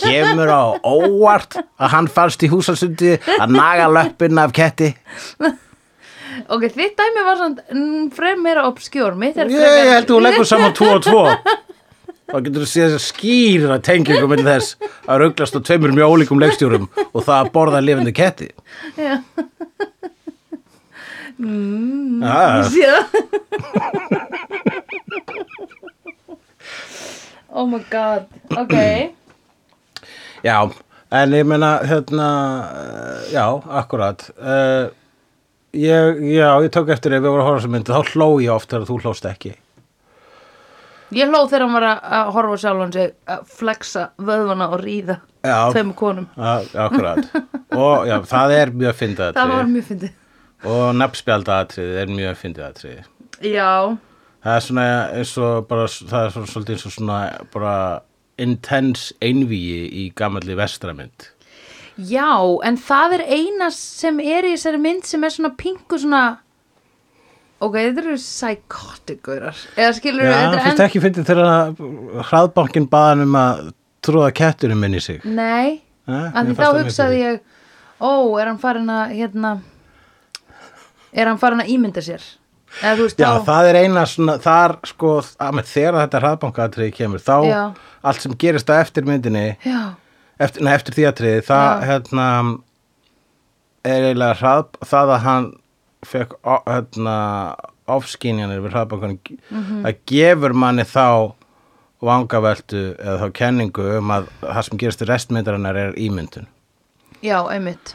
S1: kemur á óvart að hann fannst í húsasundi að naga löppin af ketti
S2: ok, þitt dæmi var svona mm, frem meira obskjór, mitt er
S1: Ég,
S2: frekar-
S1: ég held að þú leggur saman 2 og 2 [laughs] Þá getur þú séð þess að skýra tengjum með þess að rauglast á tveimur mjög ólíkum leikstjórum og það að borða lifandi ketti
S2: Já. Mm.
S1: ah,
S2: Já. oh my god, ok.
S1: Já, en ég meina hérna, eh, já, akkurat Eh, uh, ég, Já, ég tók eftir ef ég voru að horfa sem myndi þá hló ég oft þegar þú hlóst ekki
S2: Ég hló þegar hann var að- að horfa á sjálfan sig að flexa vöðvana og ríða
S1: Já.
S2: tveim konum.
S1: A- Akkurat og já, það er mjög fyndið
S2: Það var
S1: atrið
S2: mjög fyndið.
S1: og nafnspjaldatrið er mjög fyndið atrið
S2: Já,
S1: það er svona eins og bara það er svona svolítið eins og svona bara intense einvíi í gamalli vestramynd
S2: já, en það er eina sem er í þessari mynd sem er svona pingu svona ok, þetta eru psychotic-gaurar eða skilur
S1: Já, fyrst ekki fyndið þegar hraðbankin baðan um að tróða ketturinn minn í sig
S2: Nei,
S1: Eh,
S2: af
S1: mér
S2: því
S1: fannst
S2: þá
S1: það mjög
S2: hugsaði
S1: fyndið.
S2: ég ó, er hann farin að hérna er hann farin að ímynda sér eða þú veist
S1: Já,
S2: þá
S1: það er eina svona, þar sko, að með þegar þetta hraðbankatriði kemur, þá
S2: Já.
S1: allt sem gerist á eftir myndinni,
S2: já,
S1: eftir, nei, eftir því atriði, það,
S2: Já.
S1: hérna, er eiginlega hrað, það að hann fekk, á- hérna, ofskynjanir við hraðbankanum, það gefur manni þá vangaveltu eða þá kenningu um að það sem gerist í restmyndarinnar er ímyndun.
S2: já, einmitt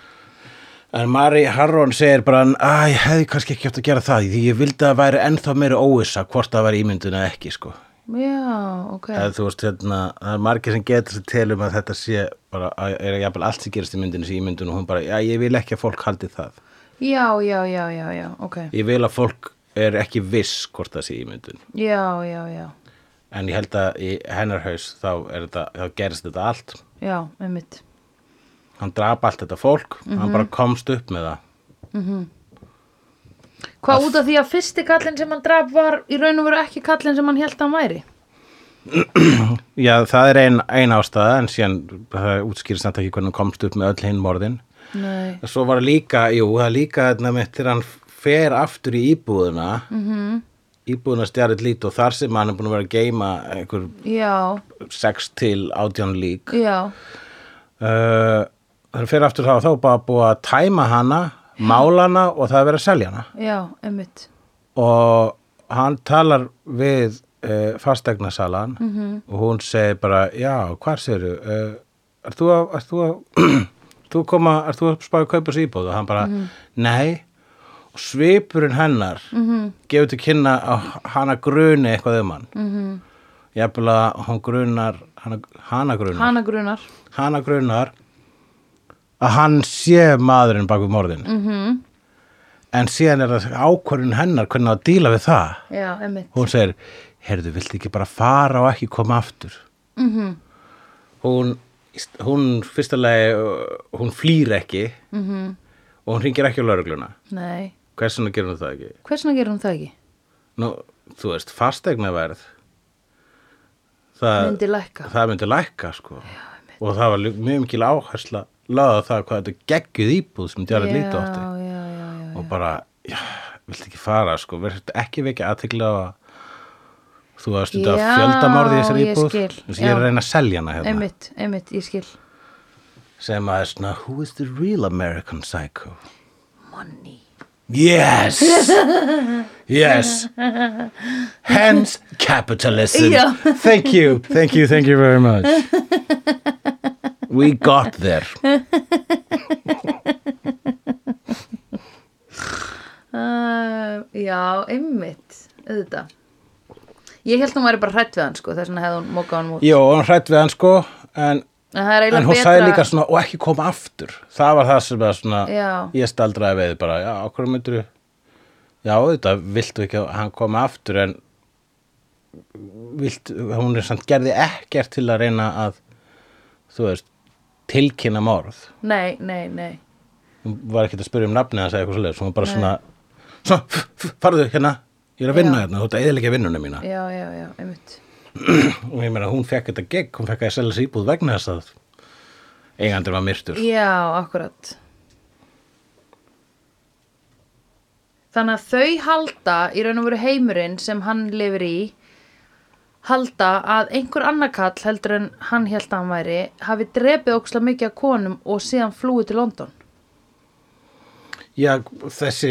S1: En Mari Harron segir bara að ég hefði kannski ekki átt að gera það því ég vildi að það væri ennþá meiri óvissa hvort það væri ímyndun eða ekki sko.
S2: já, ok
S1: Eða, þú veist, hérna, það er margir sem getur sér til um að þetta sé bara, að, er jafnvel allt sem gerist í myndinu sé ímyndun og hún bara, já ég vil ekki að fólk haldi það.
S2: já, já, já, já, já, ok
S1: Ég vil að fólk er ekki viss hvort það sé ímyndun.
S2: já, já, já,
S1: En ég held að í hennar haus þá, er þetta, þá gerist þetta allt.
S2: já, einmitt
S1: Hann drap allt þetta fólk, hann bara komst upp með það.
S2: hvað út af því að fyrsti kallinn sem hann draf var í raun og veru ekki kallinn sem hann held að hann væri
S1: Já, það er ein, ein ástæða en síðan það útskýrist þetta ekki hvernig hann komst upp með öll hinn morðin.
S2: nei,
S1: Svo var líka, jú, það er líka þarna mitt þegar hann fer aftur í íbúðuna, mm -hmm. íbúðuna stjarið lít og þar sem hann er búin að vera að geima einhver
S2: já,
S1: 6 til 18 lík.
S2: já
S1: Uh, hann fer aftur þá og þá er bara búið að tæma hana, mála hana og það er verið að selja hana.
S2: já, einmitt
S1: Og hann talar við uh, fastegnasalan -hmm. og hún segir bara, já, hvar segirðu, uh, er þú að, er þú að, ert [clears throat] þú að koma, er þú að spáði kaupa þessu íbúð og hann bara, nei, og svipurinn hennar -hmm. gefur til kynna að hana gruni eitthvað um hann. Mm -hmm. Jafnvel að hún grunar, hana, hana grunar,
S2: hana grunar
S1: hana grunar að hann sé maðurinn bak við morðin
S2: Mm.
S1: -hmm. en síðan er það ákvörðin hennar hvernig á að díla við það
S2: já, einmitt
S1: hún segir, heyrðu, viltu ekki bara fara og ekki koma aftur
S2: Mhm,
S1: -hmm. hún hún fyrstulega hún flýr ekki -hmm. og hún hringir ekki á laurugluna
S2: mhm. nei,
S1: hvers vegna gerir hún það ekki?
S2: hversna gerir hún það ekki?
S1: Nú, þú veist, fastegnaverð það
S2: myndi lækka
S1: það myndi lækka sko. og það var lí- mjög mikil áhersla laða það hvað þetta geggjuð íbúð sem djarið
S2: já,
S1: lítið átti Hérna.
S2: já, já, já,
S1: og bara, já, viltu ekki fara sko, verður ekki vekja aðtegla á að þú að stunda
S2: Já,
S1: fjöldamorði í þessari
S2: ég
S1: íbúð
S2: skil,
S1: þess að ég er
S2: já.
S1: að reyna að selja hana hérna
S2: einmitt, einmitt, ég skil
S1: sem að er svona, who is the real American psycho
S2: money [laughs]
S1: yes yes hence capitalism
S2: Já.
S1: thank you, thank you, thank you very
S2: [laughs]
S1: much we got there
S2: uh, já, einmitt auðvitað ég held hún væri bara hrætt við hann sko þess vegna hefði hún mókað hann út
S1: Jó, hún hrætt við hann sko
S2: en
S1: en,
S2: það er
S1: en
S2: eiginlega
S1: hún
S2: betra
S1: sagði líka svona og ekki koma aftur það var það sem að svona
S2: Já.
S1: ég staldraði við bara, já, okkur myndur já, þetta viltu ekki að hann koma aftur en viltu, hún er samt gerði ekkert til að reyna að þú veist, tilkynna morð
S2: nei, nei, nei,
S1: hún var ekkert að spyrja um nafnið hans eða eitthvað svoleiðis, hún var bara svona svona, f- f- farðu hérna ég er að vinna
S2: Já.
S1: hérna, þú ert að eðilegja vinnuna mína
S2: já, já, já, einmitt
S1: og ég meina hún fekk þetta gegg, hún fekk að selja sér íbúð vegna þess að eigandur var myrtur
S2: já, akkurat þannig að þau halda í raun og veru heimurinn sem hann lifir í halda að einhver annarkall heldur en hann held að hann væri hafi drepið óksla mikið af konum og síðan flúið til London
S1: Já, þessi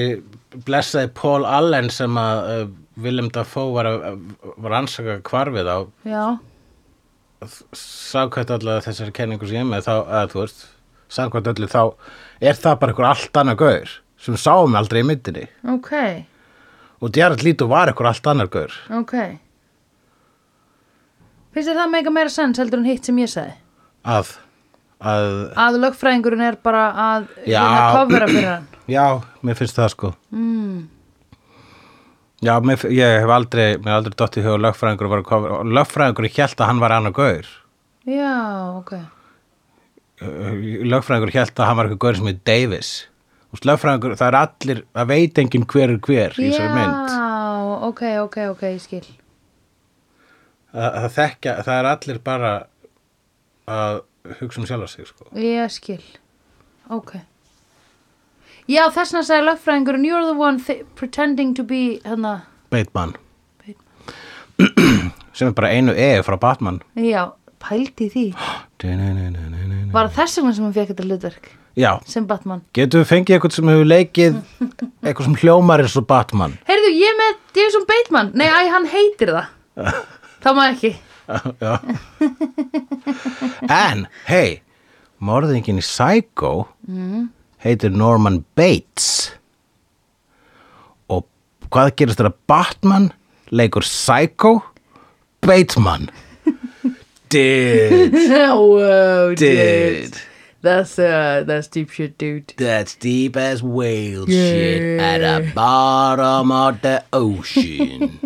S1: blessaði Paul Allen sem að uh, Willem Dafoe var að að- var að ansaka hvarfið á
S2: já,
S1: sákvæmt allavega þessari kenningu sem ég er með þá, að þú veist, sákvæmt öllu þá er það bara einhver allt annað gaur sem sáum aldrei í myndinni
S2: ok
S1: og Jared Leto var einhver allt annar gaur
S2: ok Finnst þér það meika meira sens heldur en hitt sem ég sagði?
S1: að, að
S2: Að lögfræðingurinn er bara að
S1: Já.
S2: hérna, kofvera fyrir
S1: [clears throat]
S2: hann.
S1: já, mér finnst það sko mm. já, mér, fi- ég hef aldrei mér hef aldrei dottið í hug að lögfræðingur var að koma lögfræðingur hélt að hann var annar gaur
S2: Já, ok.
S1: Uh, lögfræðingur hélt að hann var eitthvað gaur sem heit Davis Þú veist, lögfræðingur, það er allir það veit enginn hver er hver í
S2: Já,
S1: þessari mynd
S2: ok, ok, ok, ég skil.
S1: það, það þekkja, það er allir bara að hugsa um sjálf sig sko.
S2: Ég skil. Ok. Já, þess vegna sagði lögfræðingurinn, you're the one thi- pretending to be, hérna,
S1: Bateman [clears throat] sem er bara einu E frá Batman
S2: já, pældi í því. Var þess vegna sem hann fekk þetta hlutverk,
S1: já,
S2: sem Batman.
S1: getum við fengið eitthvað sem hefur leikið eitthvað sem hljómar eins og Batman
S2: Heyrðu, ég er með Jason Bateman. Nei, æ, hann heitir það.
S1: [laughs]
S2: það má ekki.
S1: Já. en, hei morðingin í Psycho heitir Norman Bates og hvað gerist þegar Batman leikur Psycho Bateman dude,
S2: wow,
S1: dude
S2: oh, That's, uh, that's deep shit, dude.
S1: That's deep as whale shit at the bottom of the ocean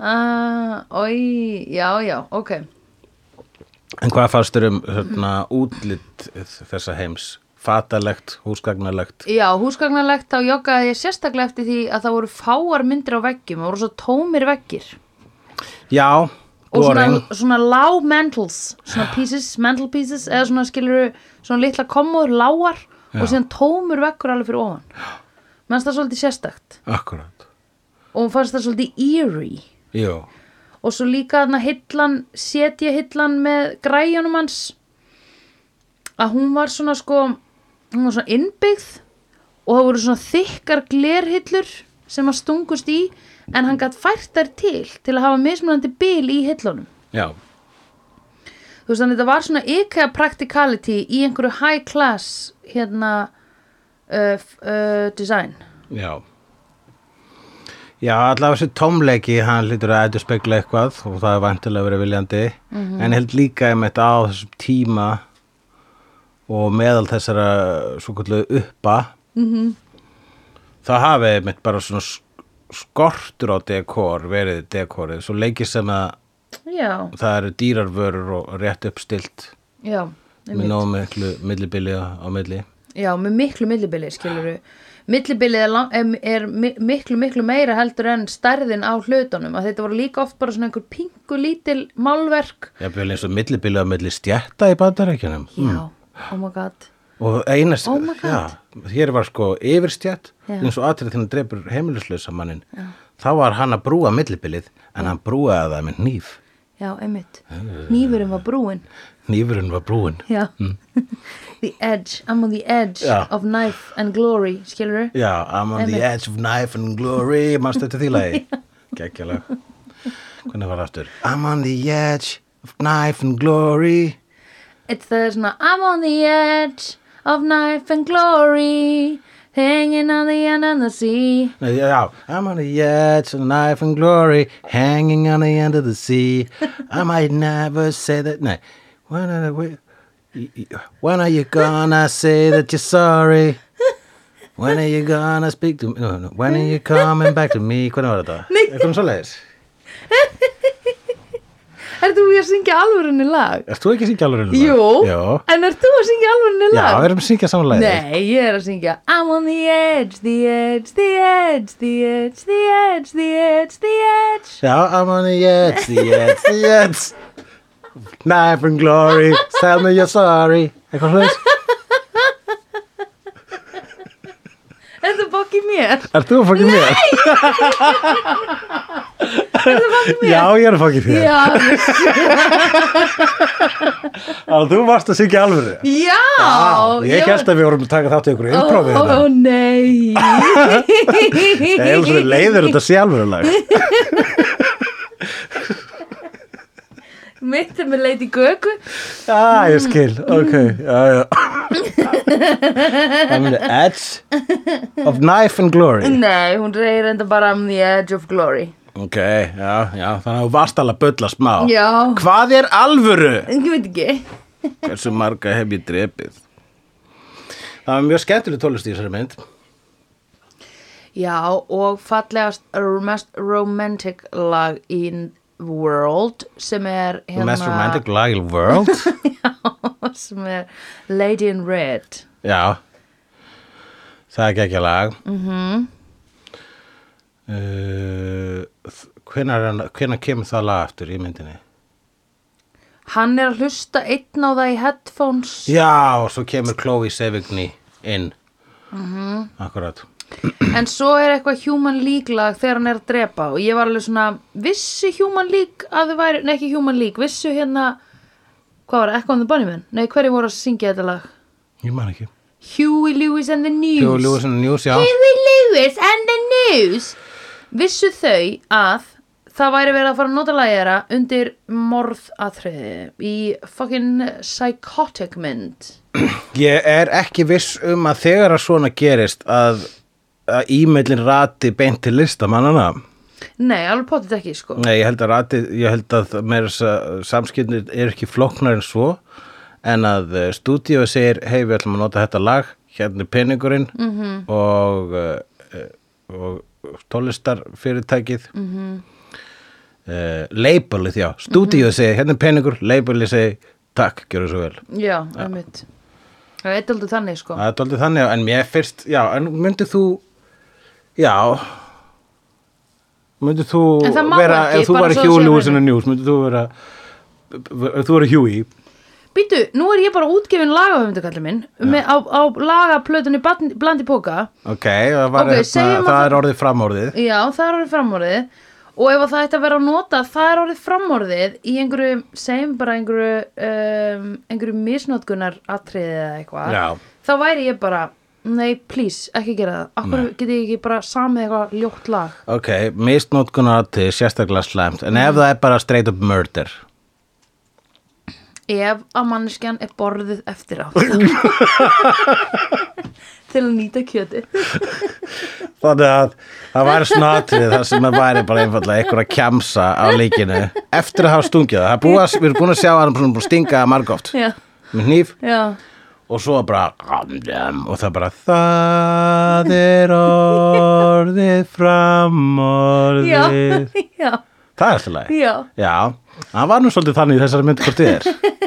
S2: Uh, oi, já, já, ok.
S1: En hvað fannst þér um hérna, útlit þessa heims? Fatalegt, húsgagnalegt
S2: Já, húsgagnalegt þá joggaði ég sérstaklega eftir því að það voru fáar myndir á veggjum og voru svo tómir veggir.
S1: Já,
S2: Og svona,
S1: boring.
S2: svona lág mantles, svona pieces, mantle pieces, eða svona skilur svona litla kommur, lágar og síðan tómur veggur alveg fyrir ofan. Mennst það svolítið sérstakt
S1: Akkurát
S2: og hún fannst það svolítið eerie.
S1: Jú,
S2: og svo líka þarna hillan setja hillan með græjunum hans að hún var svona sko hún var svona innbyggð og það voru svona þykkar glerhillur sem að stungust í en hann gætt fært þær til til að hafa mismunandi bil í hillunum
S1: já,
S2: þú veist þannig þetta var svona IKEA practicality í einhverju high class hérna uh, f- uh, design
S1: já Já, allavega þessi tómleiki hann lítur að eitthvað spekla eitthvað og það er vantilega verið viljandi en ég held líka ég meitt á þessum tíma og meðal þessara svo kallu uppa -hmm. það hafi ég meitt bara svona sk- skortur á dekor verið dekorið, svo leiki sem að
S2: já,
S1: það eru dýrarvörur og rétt uppstilt
S2: já
S1: með nóg miklu millibili á á milli
S2: Já, með miklu millibilið skilur við. Millibilið er, lang- er, er mi- miklu, miklu meira heldur en stærðin á hlutunum. Að þetta voru líka oft bara svona einhver pingu lítil málverk.
S1: Jafnvel eins og millibili á milli stjætta í bandarækjunum.
S2: Já, oh my god.
S1: Og einast,
S2: Oh my God.
S1: já, hér var sko yfirstjætt,
S2: Já.
S1: eins og atrið þinn dreipur heimiluslösa mannin. Já. Þá var hann að brúa millibilið, en hann brúaði það með nýf.
S2: Já, einmitt. Nýfurinn var brúin.
S1: Nýfurinn var brúin.
S2: Já. [laughs] the edge. I'm on the edge
S1: Já.
S2: of knife and glory, skilur við.
S1: Já, I'm on the
S2: Einmitt.
S1: edge of knife and glory, mannstu þetta því
S2: [laughs]
S1: lagi? Gekkjalega. Hvernig var það aftur? I'm on the edge of knife and glory.
S2: It's the svona I'm on the edge of knife and glory hanging on the end of the sea.
S1: Nei, Já, I'm on the edge of knife and glory Hanging on the end of the sea
S2: [laughs]
S1: I might never say that Nei, when are, we, when are you gonna say that you're sorry? When are you gonna speak to me? No, no, when are you coming back to me? Hvernig var þetta? Nei Eitthvað svo leiðis
S2: Ertu við að syngja alvörinni lag?
S1: Erst þú ekki að syngja alveg raunum?
S2: Jú,
S1: Já,
S2: en er þú að syngja alveg
S1: já
S2: lag?
S1: við erum að syngja saman leiði
S2: Nei, ég er að syngja I'm on the edge, the edge, the edge, the edge, the edge, the edge, the edge
S1: Já, I'm on the edge, the edge, the edge Knife and glory Tell me you're sorry Eitthvað svo leiðis
S2: Er það bókið mér?
S1: Ert þú að fokkin mér? Nei! Ertu að fokkin mér? Já, ég er að fokkin þér.
S2: Já,
S1: Já, þú varst að syngja alvöru. Ah,
S2: já
S1: ég held að við vorum að taka þátt í hérna. ykkur
S2: prófi
S1: improvið
S2: Ó,
S1: þetta.
S2: nei
S1: Ég er alveg leiður þetta sé
S2: [laughs]
S1: alvörulag.
S2: Mitt er með Lady Gaga [laughs]
S1: Já, ég skil, ok, já, já. I'm the edge of knife and glory
S2: Nei, hún reyðir enda bara um the edge of glory
S1: Ok, já, já, þannig að þú varst alveg að bulla smá
S2: Já.
S1: Hvað er alvöru?
S2: Ég veit ekki
S1: Hversu marga hef ég drepið? Það var mjög skemmtileg tólest í þessari mynd
S2: Já, og fallegast mest romantic lag in world sem er
S1: The
S2: hérna
S1: Mest
S2: [laughs]
S1: romantic lag in the world
S2: sem er Lady in Red
S1: Já Það er gekkja lag mm -hmm. uh, hvenar, hvenar kemur það lag aftur í myndinni?
S2: Hann er að hlusta einn á það í headphones
S1: Já, og svo kemur Chloe Sevigny inn mm -hmm. Akkurat
S2: en svo er eitthvað human league lag þegar hann er að drepa og ég var alveg svona vissu human league að þið væri, nei ekki human league vissu hérna, hvað var það, Echo and the Bunnymen nei hverju voru að syngja þetta lag
S1: Ég man ekki
S2: Huey Lewis and the News
S1: Jú, Lewis and the News, já
S2: Huey Lewis and the News vissu þau að það væri verið að fara að nota lægjara undir morðatriði í fucking psychotic mynd
S1: Ég er ekki viss um að þegar að svona gerist að, að e-mailin rati beint til listamannana
S2: nei, alveg potið ekki sko
S1: Nei, ég held að rati, ég held að meira þess að samskipnir er ekki flóknar en svo en að stúdíu segir, hei við ætlum að nota þetta lag hérna er peningurinn -hmm. og, eh, og tólistarfyrirtækið mm -hmm. Eh, labelið, já stúdíu segir, hérna er peningur, labelið segir takk, gjöru svo vel
S2: já, einmitt það er eitt aldrei þannig sko
S1: Það er tóldið þannig, já, en mér fyrst, já, en myndið þú já myndið þú
S2: En það má
S1: vera,
S2: ekki,
S1: ef þú
S2: bara
S1: væri
S2: svo það
S1: Hugh
S2: sé á
S1: Lewis
S2: hreinu.
S1: in the News, myndið þú vera ef þú væri Huey
S2: Býtu, nú er ég bara útgefin lagahöfundakallið minn með, á, á lagaplötunni Barn- blandi póka
S1: ok, það, var,
S2: Ok,
S1: okay,
S2: segjum að
S1: það
S2: það-
S1: er orðið framorðið
S2: Já, það er orðið framorðið og ef að það ætti að vera að nota það er orðið framorðið í einhverju, segjum bara einhverju um, einhverju misnótkunar atriðið eða eitthvað
S1: Já.
S2: þá væri ég bara, nei, please, ekki gera það Akkur geti ég ekki bara samið eitthvað ljótt lag
S1: ok, misnótkunar til sérstaklega slæmt, en
S2: Mm.
S1: ef það er bara straight up murder
S2: ef að manneskjan er borðið eftir
S1: [laughs]
S2: á til að nýta kjöti
S1: þannig að það væri snatrið það sem að væri bara einfallega einhver að kjamsa á líkinu eftir að hafa stungið það, það er búið, að- við erum búin að sjá að hann er búin að stinga margóft
S2: Já,
S1: með hníf
S2: já,
S1: og svo bara og það bara það er orðið framorðið
S2: já, [laughs] já,
S1: það er alltaf lagi
S2: já
S1: já, það var nú svolítið þannig í þessari mynd hvort þið
S2: [laughs]
S1: er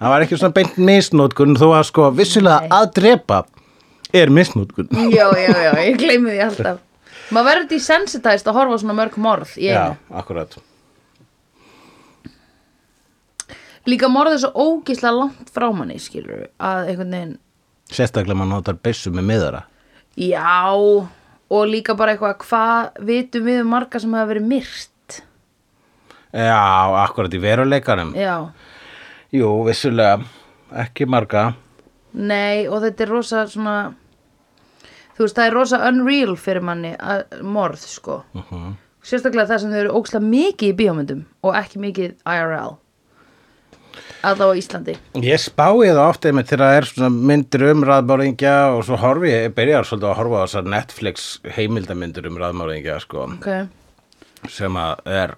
S1: það var ekki svona beint misnótkun þó að sko vissulega
S2: Nei. Mm,
S1: að drepa er misnótkun
S2: Já, já, já, ég gleymi því alltaf Maður verður desensitized að horfa á svona mörg morð í
S1: já,
S2: einu.
S1: akkurat
S2: Líka morð er svo ógislega langt frá manni, skilur að einhvern veginn,
S1: sérstaklega mann notar byssu með miðara
S2: já og líka bara eitthvað, hvað vitum við um marga sem hafa verið myrt
S1: já, akkurat í veruleikanum
S2: Já,
S1: jú, vissulega, ekki marga
S2: nei og þetta er rosa svona þú veist, það er rosa unreal fyrir manni að, morð, sko sérstaklega það sem þau eru ógislega mikið í bíómyndum og ekki mikið IRL allavega á Íslandi
S1: Ég spái það ofta einmitt þegar það er svona myndir um raðmáringja og svo horfi ég, ég byrjar svolítið að horfa á þessar Netflix heimildamyndir um raðmáringja sko,
S2: okay.
S1: sem að er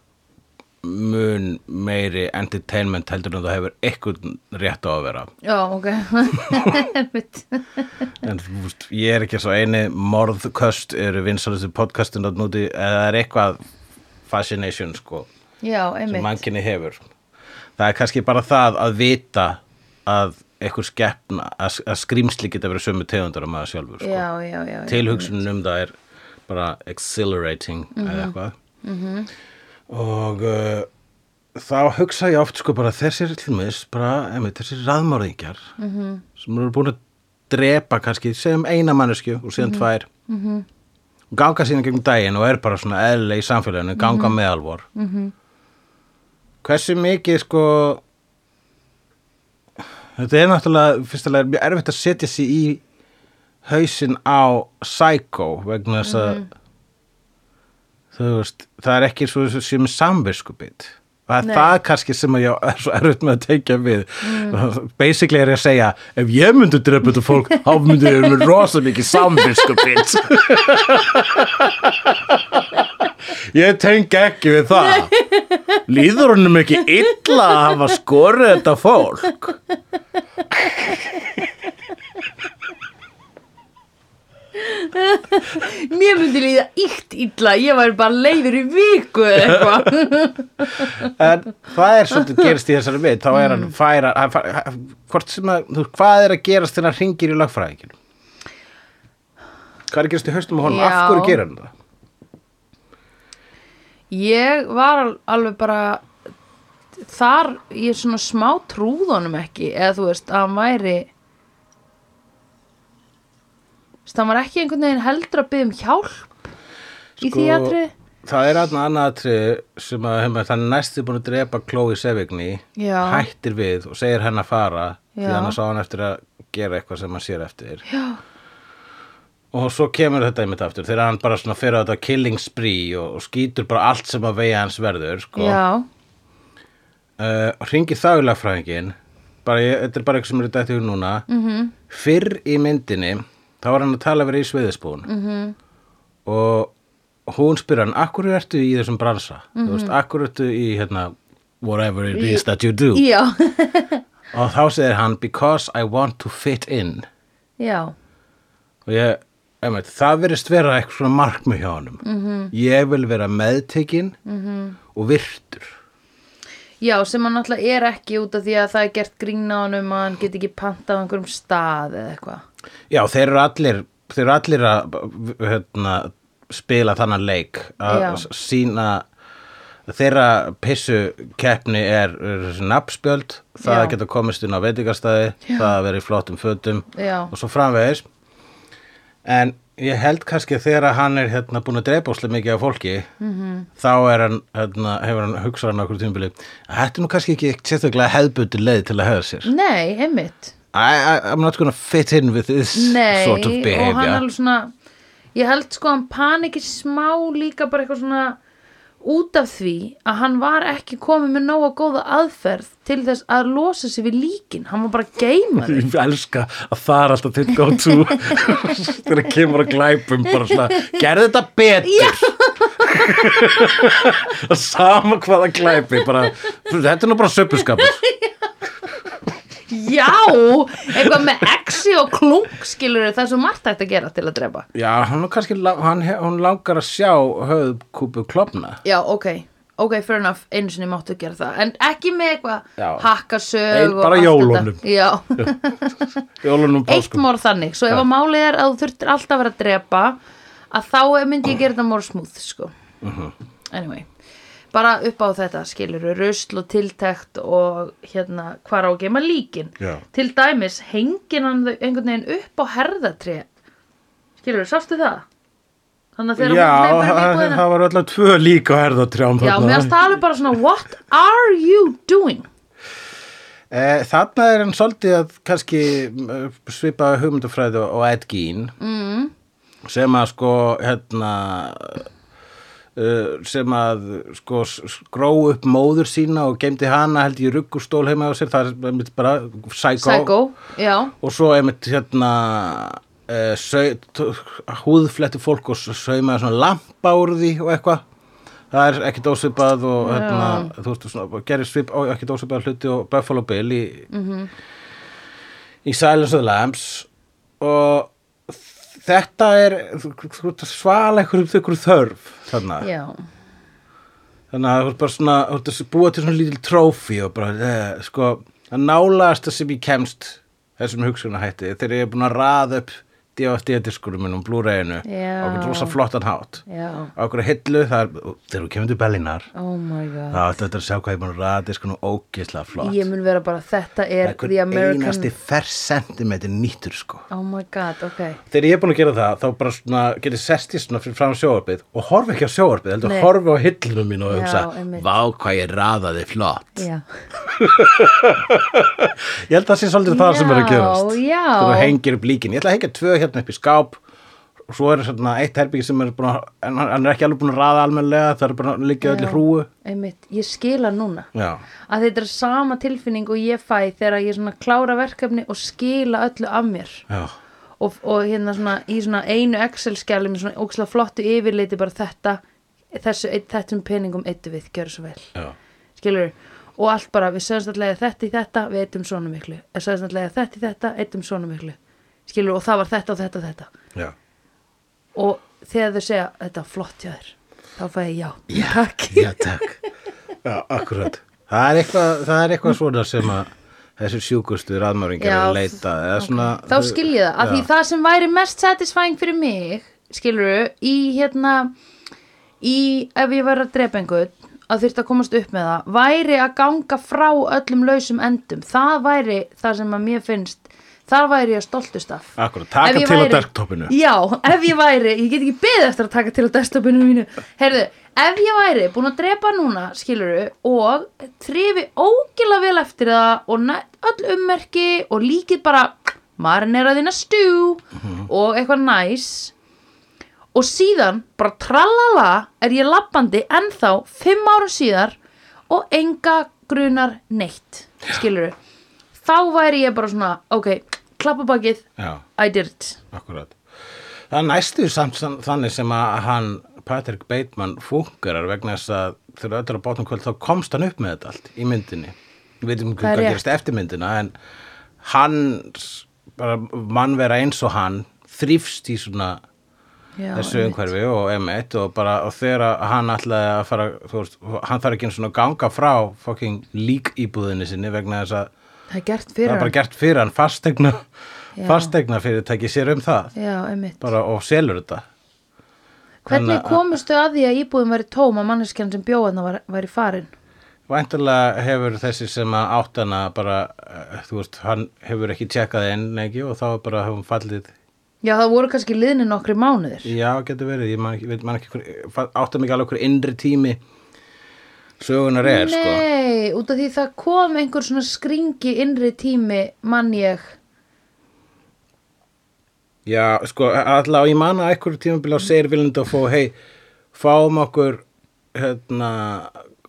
S1: mun meiri entertainment heldur en það hefur einhvern rétt á að vera.
S2: Já, ok [laughs] Einmitt.
S1: En þú veist, ég er ekki svo eini morðköst eru vinsalistu podcastin að núti eða er eitthvað fascination sko
S2: Já, einmitt
S1: sem mannkinni hefur það er kannski bara það að vita að einhver skeppna að, að skrýmsli geta verið sömu tegundar að maður sjálfur sko.
S2: Já, já, já, já.
S1: tilhugsunin um það er bara exhilarating
S2: Mhm.
S1: eða eitthvað og uh, þá hugsa ég oft sko bara þessir tilmis, bara einmitt, þessir raðmörðingjar
S2: Mhm.
S1: sem eru búin að drepa kannski sem eina manneskju og
S2: Mhm.
S1: síðan tvær ganga síðan gegnum daginn og er bara svona eðlileg í samfélaginu, ganga
S2: Mhm.
S1: mm -hmm. meðalvor hversu mikið sko þetta er náttúrulega fyrstulega mjög erfitt að setja sig í hausinn á Psycho vegna þess að þú veist, það er ekki svo sem samviskubit það
S2: Nei.
S1: er það kannski sem að ég er [laughs] svo erfitt með að tekja við [laughs] basically er ég að segja ef ég myndi drepa þetta fólk þá myndi ég með rosa mikið samvisku bitch [laughs] ég tengi ekki við það líður honum ekki illa að hafa skorið þetta fólk
S2: Mér myndi líða íkt illa, ég var bara leiður í viku eða
S1: [laughs]
S2: eitthvað.
S1: en það er svolítið gerist í þessari mynd þá er
S2: Mm.
S1: hann færa hann fæ- hann- hvort sem að, þú, hvað er að gerast þegar hann ringir í lagfræðinginu hvað er að gerast í haustum á honum, af
S2: Já.
S1: hverju gerir hann það
S2: Ég var al- alveg bara þar, ég svona smá trúð honum ekki, eða þú veist, að hann væri Þú veist, hann var ekki einhvern veginn heldur að byggja um hjálp í því atrið
S1: Sko, það er aðna annað atrið sem að hefum, hann er næstu búin að drepa Chloe Sevigny
S2: Já.
S1: hættir við og segir henn að fara því
S2: Já.
S1: annars á hann eftir að gera eitthvað sem hann sér eftir
S2: Já,
S1: og svo kemur þetta einmitt aftur þegar hann bara svona fyrir á þetta killing spree og, og skýtur bara allt sem að vegi hans verður sko.
S2: já,
S1: uh, ringi þagulagfræðingin bara, ég, þetta er bara eitthvað sem er dætt í hug núna -hmm. fyrr í myndinni þá var hann að tala verið í Sveiðisbúin -hmm. og hún spyr hann akkur ertu í þessum bransa mm -hmm. akkur ertu í hérna whatever it is that you do
S2: já, [laughs]
S1: og þá segir hann because I want to fit in
S2: já,
S1: og ég einmitt, það verðist vera eitthvað svona markmið hjá honum mm -hmm. ég vil vera meðtekinn -hmm. og virtur
S2: já, sem hann alltaf er ekki út af því að það er gert grína honum að hann get ekki pantað á einhverjum stað eða eitthvað.
S1: Já, þeir eru allir, þeir eru allir að hérna, spila þannan leik að
S2: Já.
S1: sína þeirra pissu keppni er, er þessi nafnspjöld það
S2: Já.
S1: að geta komist inn á veitingastæði það að vera í flottum fötum
S2: Já.
S1: og svo framvegis en ég held kannski að þegar hann er hérna, búin að drepa óslega mikið af fólki
S2: Mhm.
S1: -hmm. þá er hann, hérna, hefur hann hugsað hann okkur tímabili að þetta er nú kannski ekki sérstaklega hefðbundi leið til að hefða sér
S2: Nei, einmitt.
S1: I, I, I'm not gonna fit in with this
S2: Nei,
S1: sort of
S2: og hann
S1: behavior
S2: alveg svona ég held sko að hann panikir smá líka bara eitthvað svona út af því að hann var ekki komið með nóga góða aðferð til þess að losa sig við líkin hann var bara að geima þau
S1: Ég elska að það er alltaf þitt go to [laughs] þegar kemur að glæpum bara svona, gerðu þetta [laughs] betur og sama hvaða glæpi bara, þetta er nú bara söpuskapur
S2: Já, eitthvað með exi og klunk skilur það er svo margt hægt að gera til að drepa
S1: Já, hann, er kannski, la- hann, he- hún langar að sjá höfðkúpu klopna
S2: Já, ok, ok, fair enough einu sinni máttu gera það, en ekki með eitthvað
S1: Já.
S2: hakkasög
S1: Ein-
S2: og
S1: bara
S2: allt
S1: jólunum.
S2: þetta. Já,
S1: Jólunum
S2: eitt
S1: páskum
S2: morð þannig svo ef að málið er að þú þurftir alltaf að vera að drepa að þá myndi ég gera þetta morð smúð sko
S1: Mhm.
S2: anyway bara upp á þetta skilur rusl og tiltekt og hérna hvar á að geima líkin
S1: Já.
S2: til dæmis hengir hann þau einhvern veginn upp á herðatri skilur, sástu það? þannig að þegar
S1: Já,
S2: hún hleypur um
S1: [laughs] það
S2: íbúðina-
S1: það var alltaf tvö líka á herðatrjám
S2: já, mér varst það alveg bara svona what are you doing?
S1: Eh, Þarna er hann svolítið að kannski eh, svipa hugmyndafræði og Ed Gein mm. sem að sko hérna eh, sem að sko skró upp móður sína og geimdi hana held ég ruggustól heima á sér það er einmitt bara psycho,
S2: Psycho, já,
S1: og svo einmitt hérna eh, sau- t- húðfletti fólk og s- saumaði svona lampa úr því og eitthvað það er ekkit ósvipað og hérna, þú veist, svona, gerir svip á ekkit ósvipað hluti og Buffalo Bill í, í Silence of the Lambs og þetta er þú- þú- þú ert að svala einhverjum þykkur þörf þarna
S2: já
S1: þannig að þú ert bara svona, þú ert að búa til svona lítil trófi og bara, eh, sko að nálaðast það sem ég kemst þessum hugsunahætti, þegar ég er búin að raða upp DVD-diskurum minn um Blu-rayinu
S2: Já.
S1: á okkur rosa flottan hátt
S2: já,
S1: á okkur hillu, það er, þegar þú kemur til Bellinar
S2: oh my god
S1: þá ætti þetta að sjá hvað ég er búin að raða diskunum ógislega flott
S2: Ég mun vera bara, þetta er
S1: Einhver
S2: The American
S1: einasti fersentimetri nýttur sko
S2: Oh my god, ok
S1: þegar ég er búin að gera það, þá bara svona getið sest í svona fyrir fram sjóarbið og horfa ekki á sjóarbið, heldur
S2: Nei.
S1: horfa á hillunum mín og
S2: Já,
S1: hugsa,
S2: einmitt.
S1: vá hvað ég raðaði flott
S2: Já,
S1: Ég held að það sé svolítið það sem er að
S2: Já,
S1: gerast
S2: já.
S1: Þegar þú hengir upp líkin Ég ætla að hengja tvö hérna upp í skáp og svo er svona eitt herbyggi sem er búin að, en hann hann er ekki alveg búin að raða almennilega, það er bara að liggja öll í
S2: Já.
S1: hrúu.
S2: [laughs] einmitt, ég skila núna
S1: Já,
S2: að þetta er sama tilfinning og ég fæ þegar ég svona klára verkefni og skila öllu af mér
S1: já,
S2: og, og hérna svona í svona einu Excel-skjali með svona ókslega flottu yfirleiti bara þetta, þessu, einn- þessum peningum eittu við, gjör svo vel
S1: já,
S2: skilur og allt bara, við sögumstalllega þetta í þetta við eittum svona miklu, sögumstalllega þetta í þetta eittum svona miklu, skilur og það var þetta og þetta og þetta
S1: já.
S2: og þegar þau segja þetta er flott hjá þér, þá fæ ég já,
S1: Já,
S2: takk
S1: [laughs] já, takk. Já, akkurat. Það er eitthvað, það er eitthvað svona sem að þessi sjúkustu raðmöringar
S2: Já,
S1: að leita, eða svona...
S2: þá skil ég það, að því það sem væri mest satisfying fyrir mig, skiluru í hérna í, ef ég væri að drepa einhvern að þyrfti að komast upp með það, væri að ganga frá öllum lausum endum það væri það sem að mér finnst þar væri ég stoltust af
S1: Akkurat, taka
S2: Ef ég
S1: til á
S2: væri-
S1: desktopinu.
S2: Já, ef ég væri, ég get ekki beðið eftir að taka til á desktopinu mínu Heyrðu, ef ég væri búin að drepa núna, skiluru og trifi ógila vel eftir það og næ- öll ummerki og líkið bara marineraðina stjú og eitthvað næs og síðan bara trallala er ég lappandi ennþá fimm árum síðar og enga grunar neitt skiluru þá væri ég bara svona, ok, klappa bakið
S1: Já,
S2: I did it
S1: akkurat. Það er næstu samt sam- þannig sem að hann, Patrick Bateman, fungerar vegna þess að þegar öllur á bátnum kvöld þá komst hann upp með þetta allt í myndinni. Við veitum ekki
S2: Það er
S1: hvað
S2: rétt.
S1: gerist eftir myndina, en hann, bara mannvera eins og hann, þrýfst í svona
S2: Já,
S1: þessu
S2: einmitt.
S1: umhverfi og M1 og bara og þegar að hann ætlaði að fara þú veist, hann þarf ekki einu svona að ganga frá fucking lík íbúðinni sinni vegna þess að
S2: Það er gert
S1: það
S2: fyrir
S1: er bara
S2: hann
S1: gert fyrir hann fastegna
S2: Já.
S1: fastegna fyrirtæki sér um það
S2: Já, einmitt
S1: bara og selur þetta
S2: Hvernig
S1: Þannig að-
S2: komustu að því að íbúðum væri tóm að manneskjan sem bjóðan var, væri farin?
S1: væntalega hefur þessi sem að átt hana bara, eh, þú veist, hann hefur ekki tjekkað inn ekki og þá er bara hefum fallið,
S2: Já, það voru kannski liðni nokkri mánuðir
S1: já, getur verið ég man ekki, veit man ekki, hver, áttum ekki alveg hver innri tími sögunar er, sko
S2: Nei, út af því það kom einhver svona skringi innri tími mann ég
S1: Já, sko, allavega ég man að einhverju tímabili á segir viljandi að fá, hei, fáum okkur, hérna,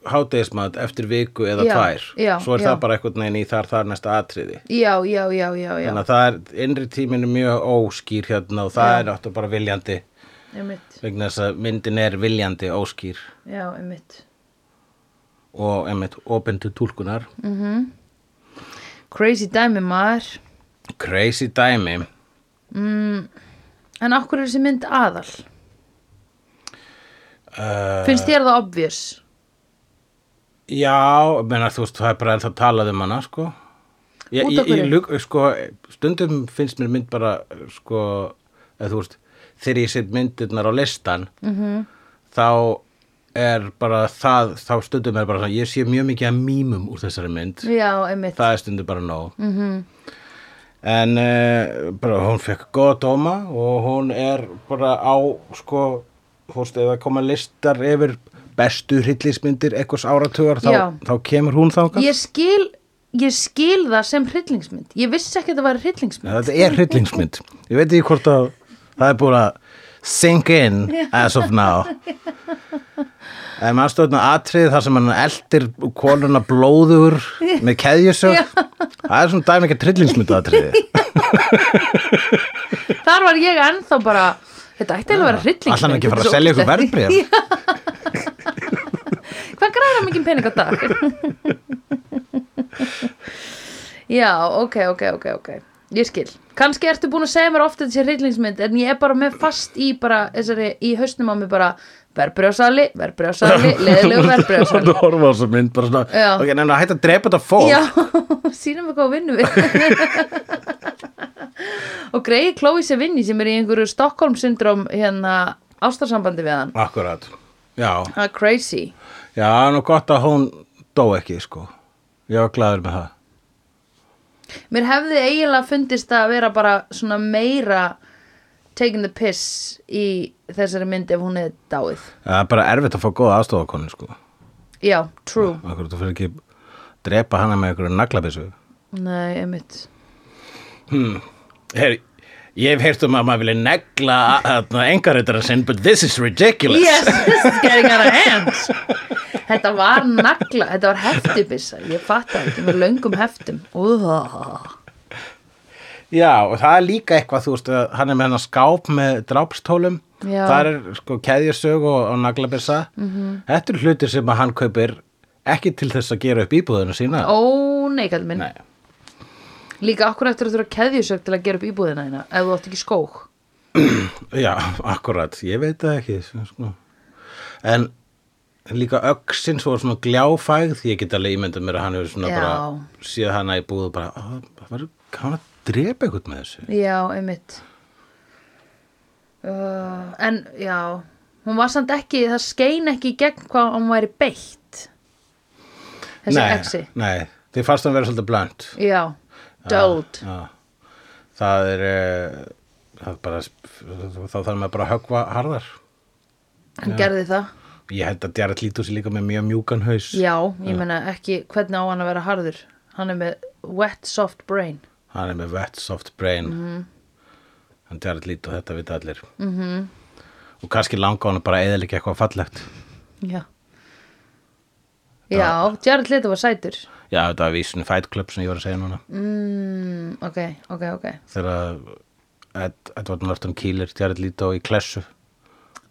S1: hádegismat eftir viku eða
S2: Já,
S1: tvær.
S2: já,
S1: Svo er
S2: já.
S1: það bara einhvern veginn í þar, þar næsta atriði.
S2: Já, já, já, já, já,
S1: Þannig að það er, innri tíminu mjög óskýr hérna og það er náttúrulega bara viljandi,
S2: einmitt
S1: vegna þess að myndin er viljandi óskýr
S2: Já, einmitt
S1: og, einmitt, open til tólkunar.
S2: Mm. Crazy dæmi maður
S1: Crazy dæmi.
S2: En af hverju er þessi mynd aðal?
S1: Uh,
S2: Finnst þér það obvious?
S1: Já, menna, þú veist, það er bara ennþá talað um hana, sko. Ég,
S2: Út af
S1: ég, ég
S2: hverju?
S1: lug, sko, stundum finnst mér mynd bara, sko, eða þú veist, þegar ég set myndirnar á listan,
S2: Mhm.
S1: -hmm. þá er bara það, þá stundum er bara svona, ég sé mjög mikið að mýmum úr þessari mynd,
S2: Já, einmitt
S1: það er stundum bara nóg. Mm -hmm. En uh, bara hún fekk góða dóma og hún er bara á, sko, þú veist, ef það koma listar yfir bestu hryllismyndir einhvers áratugar,
S2: Já.
S1: þá, þá kemur hún þangað.
S2: Ég skil, ég skil það sem hryllingsmynd Ég vissi ekki að það var hryllingsmynd
S1: Nei, þetta er hryllingsmynd. Ég veit ekki hvort að það er búin að sink in as of now. En maður stóðna atrið þar sem hann eldir konuna blóður
S2: [laughs]
S1: með keðjusög. Það er svona dæmi ekki hryllingsmynd atriði.
S2: Þar var ég ennþá bara Þetta ætti eiginlega að vera hryllingsmynd
S1: Ætlar hann ekki að fara
S2: þetta
S1: að
S2: er
S1: selja
S2: svo [laughs]
S1: ykkur
S2: ógeðslegt.
S1: verðbréf?
S2: Hvað græða mikið pening á dag? Já, ok, ok, ok, ok Ég skil Kanski ertu búin að segja mér ofta þessi hryllingsmynd En ég er bara með fast í bara þessari, Í hausnum á mig bara Verbrjóðsali,
S1: [laughs]
S2: verbrjóðsali, leðilegu verbrjóðsali
S1: Svona horfa á þessu mynd bara svona.
S2: Já.
S1: Ok, nefnir að hætta að drepa þetta fólk.
S2: Já, [laughs] sínum við hvað við vinnum við Og greiði Chloe sér vinni sem er í einhverju Stockholm syndrom hérna ástarsambandi við hann
S1: Akkurat. Já.
S2: Það er crazy
S1: Já, nú gott að hún dó ekki, sko. Ég var glæður með það.
S2: Mér hefði eiginlega fundist að vera bara svona meira taking the piss í þessari mynd ef hún hefði dáið
S1: Það er bara erfitt að fá góða aðstofakonu, sko.
S2: Já, true
S1: Akkur, þú fyrir ekki drepa hana með einhverju naglabissu.
S2: Nei, einmitt
S1: Heri, Ég hef heyrt um að maður vilja negla engaritara sinn, but this is ridiculous. [laughs]
S2: Yes, this is getting out of hand Þetta var nagla, þetta var heftibissa Ég fatt að þetta með löngum heftum Úða.
S1: Já, og það er líka eitthvað, þú veist, að hann er með hennar skáp með drápstólum,
S2: Já. Mhm.
S1: þar er sko keðjasög og, og naglabissa. -hmm. Þetta er hlutir sem að hann kaupir ekki til þess að gera upp íbúðinu sína.
S2: Ó, nei, kall minn
S1: Nei.
S2: Líka akkur eftir að þú eru að keðjusög til að gera upp íbúðina þína Ef þú átt ekki skók
S1: Já, akkurat, ég veit það ekki sko. En líka öxin svo svona gljáfægð ég get alveg ímyndað mér að hann hefur svona
S2: Já.
S1: bara séð hana í búð og bara "Á, það var hann að drepa eitthvað með þessu
S2: Já, einmitt uh, En, já Hún var samt ekki, það skein ekki í gegn hvað hún væri beitt Þessi
S1: nei,
S2: exi
S1: nei, þið fannst hann vera svolítið blönd
S2: Já, döld
S1: Já. Það er eh, það er bara þá þarf maður bara að höggva harðar
S2: Hún gerði það
S1: Ég held að Jared Lítus er líka með mjög mjúkan haus
S2: Já, ég meina ekki hvernig á hann að vera harður Hann er með wet soft brain
S1: Hann er með wet soft brain
S2: Mhm.
S1: Hann Jared Leto, þetta vita allir -hmm.
S2: Mhm.
S1: Og kannski langa hann bara eða líka eitthvað fallegt
S2: Já Já, Jared Leto var sætur
S1: Já, þetta var vísin Fight Club sem ég var að segja núna
S2: mm, Ok, ok, ok
S1: Þegar Ed, Edward Norton kýlir Jared Leto í klessu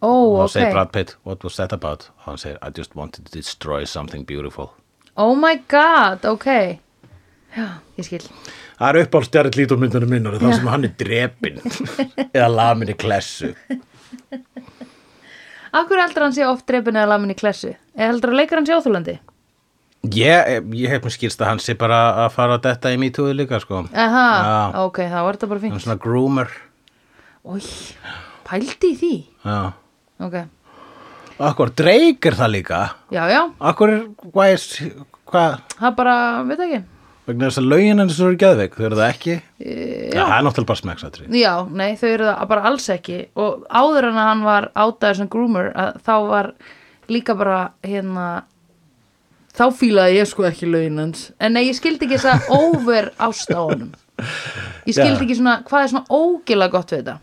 S2: Ó,
S1: og hann segir
S2: ok
S1: Brad Pitt, what was that about? Og hann segir, I just wanted to destroy something beautiful
S2: Oh my god, ok Já, ég skil
S1: Það er uppáls Jared Leto myndunum minnar það sem hann er drepin eða lamin í klessu
S2: Akkur heldur hann sé oft drefin eða lamin í klessu? Eða heldur að leikar hann sé óþúlandi?
S1: Ég, ég hef mér skýrst að hann sé bara að fara að detta í mítúðu líka sko
S2: Aha,
S1: Já.
S2: ok, það var þetta bara
S1: Hann er
S2: fínt.
S1: svona groomer
S2: Új, pældi í því?
S1: Já
S2: Ok,
S1: Akkur, Drake er það líka
S2: já, já,
S1: Akkur, hvað er hvað,
S2: það bara, veit ekki.
S1: vegna þess að lögin hans eru geðveik, þau eru það ekki
S2: Eh,
S1: Já, það er náttúrulega bara smekksatri
S2: Já, nei, þau eru það bara alls ekki og áður en að hann var átaður sem groomer að þá var líka bara, hérna, þá fílaði ég sko ekki lögin hans. En nei, ég skildi ekki þess
S1: [laughs]
S2: að over ást á honum. Ég skildi
S1: Já.
S2: ekki svona, hvað er svona ógila gott við þetta?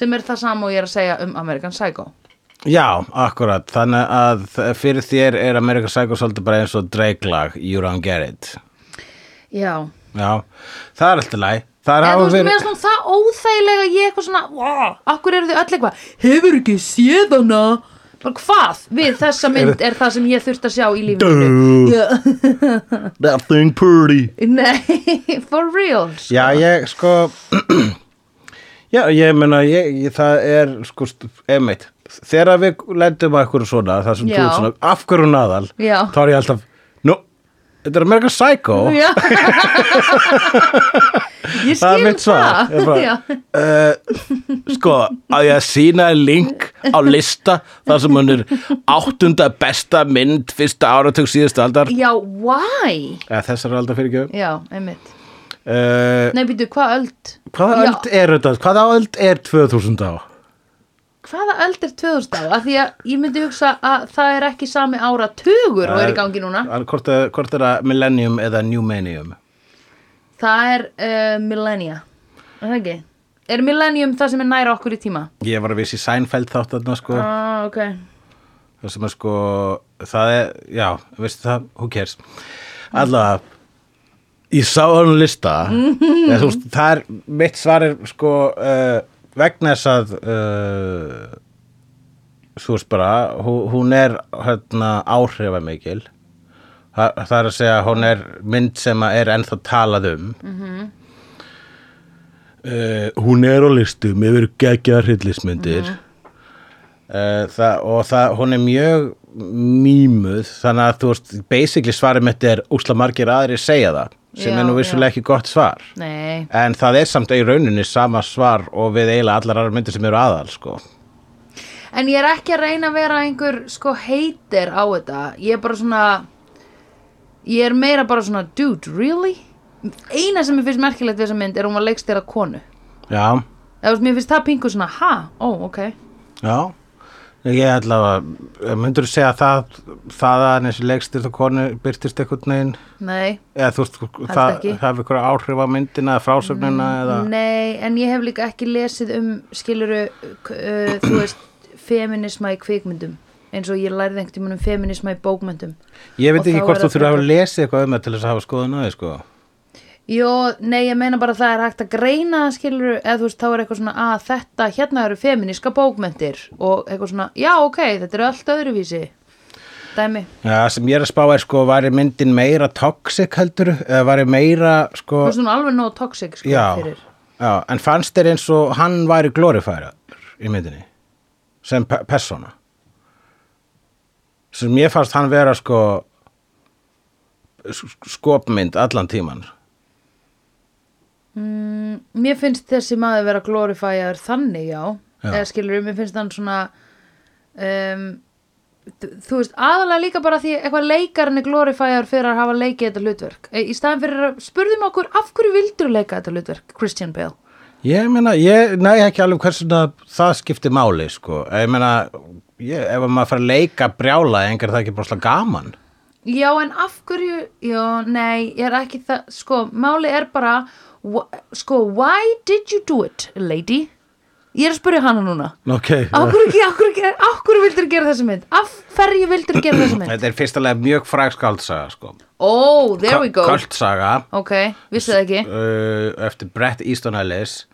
S2: Sem er það sama og ég er að segja um American Psycho.
S1: Já, akkurat, þannig að fyrir þér er America Psycho svolítið bara eins og Drake lag, You Don't Get It
S2: Já,
S1: Já, það er alltaf læg Það
S2: En
S1: er
S2: þú
S1: hafa
S2: veist, mér
S1: verið
S2: er svona það óþægilega að ég eitthvað svona, "Vá, akkur eru þið öll eitthvað, hefur ekki séð hana? Bara hvað við þessa mynd er það sem ég þurft að sjá í lífinu? Já. [laughs]
S1: That thing pretty
S2: Nei, for real. sko.
S1: Já, ég sko [clears throat] Já, ég meina ég, ég, það er sko, st- einmitt þegar við lendum að einhverju svona það sem þú
S2: Já.
S1: ert svona, af hverju naðal
S2: Já.
S1: þá er ég alltaf, nú, þetta er American Psycho [laughs]
S2: Já. Ég
S1: það er
S2: skil
S1: mitt svar Ég bara,
S2: Já.
S1: uh, sko, að ég að sína link á lista þar sem hún er áttunda besta mynd fyrsta áratug síðustu aldar
S2: Já, why?
S1: eða þessar aldar fyrir ekki
S2: Já, einmitt.
S1: uh,
S2: Nei, býtu, hvað öld?
S1: hvaða
S2: Já.
S1: öld er þetta? hvaða öld er 2000 á?
S2: Hvaða öld er 2000 á? Af því að ég myndi hugsa að það er ekki sami ára tugur og er í gangi núna.
S1: Það er- Hvort, er- hvort er það millennium eða newmanium?
S2: Það er uh, millennia Er það ekki? Er millennium það sem er næra okkur í tíma?
S1: Ég var að vissi Seinfeld þátt þarna sko
S2: Ah, ok
S1: Það sem er sko Það er, já, veistu það, who cares Alla Ég sá hann lista
S2: Mm-hmm.
S1: eða, þú, veist, Það er, mitt svar er sko uh, vegna þess að uh, þú veist bara hú- hún er hérna áhrifamikil Þa, það er að segja hún er mynd sem að er ennþá talað um Uh, hún er á listum yfir geggjaðar hryllismyndir uh, það, og það, hún er mjög mýmuð þannig að þú veist, basically svarið mitt er úsla margir aðrir segja það sem
S2: Já,
S1: er nú
S2: já.
S1: vissulega ekki gott svar
S2: Nei
S1: en það er samt í rauninni sama svar og við eiginlega allar aðrar myndir sem eru aðal sko.
S2: En ég er ekki að reyna að vera einhver sko heitir á þetta Ég er bara svona Ég er meira bara svona Dude, really? Eina sem mér finnst merkilegt við þessa mynd er hún var leikstýra konu
S1: já,
S2: Eða þú veist, mér finnst það pingu svona Ha, ó, ok
S1: já Ég ætla að, myndur þú segja að það, það að hann þessi leikstýrt og konu byrtist einhvern veginn,
S2: Nei,
S1: eða þú veist, það
S2: ekki. Mm,
S1: hafi einhverja áhrif á myndina eða frásögnina eða,
S2: nei, en ég hef líka ekki lesið um skiluru, uh, þú veist, feminisma í kvikmyndum eins og ég lærði einhvern tímann um feminisma í bókmyndum.
S1: ég veit
S2: og
S1: ekki
S2: þá
S1: hvort
S2: er
S1: þú
S2: það
S1: þurfa að hafa
S2: frekar-
S1: lesið eitthvað um það til þess að hafa skoðun á því, sko.
S2: Jó, nei, ég meina bara að það er hægt að greina skiluru, eða þú veist, þá er eitthvað svona að þetta, hérna eru feminiska bókmyndir og eitthvað svona, já, ok, þetta eru allt öðruvísi. Dæmi,
S1: Já, það sem ég er að spá er, sko, væri myndin meira toxic heldur, eða væri meira, sko,
S2: þú veist, hún er alveg nóg toxic, sko,
S1: já,
S2: fyrir.
S1: já, en fannst þér eins og hann væri glorifærar í myndinni, sem pe persóna. Sem ég fannst hann vera, sko, sk- skopmynd allan tíman,
S2: Mm, Mér finnst þessi maður vera glorifæjar þannig, já.
S1: Já.
S2: Eða skilur, mér finnst hann svona, um, þú þú veist, aðalega líka bara því eitthvað leikarinn er glorifæjar fyrir að hafa leikið þetta hlutverk. E, Í staðan fyrir að spurðum okkur, af hverju vildur leika þetta hlutverk, Christian Bale?
S1: Ég meina, ég næ ekki alveg hversu það, það skiptir máli, sko. Ég meina, ég, ef maður fara að leika brjála, engar það ekki bara slag gaman.
S2: Já, en af hverju, já, nei, ég er ekki það, sko, máli er bara, wh- sko, why did you do it, lady? Ég er að spurja hana núna.
S1: Ok.
S2: Akkur ekki, akkur ekki, akkur vildur gera þessa mynd? Af hverju vildur gera þessa mynd?
S1: Þetta er fyrstulega mjög fræg skaldsaga, sko.
S2: Oh, there we go
S1: Kaldsaga,
S2: Ok, vissu það ekki
S1: uh, eftir Brett Easton Ellis.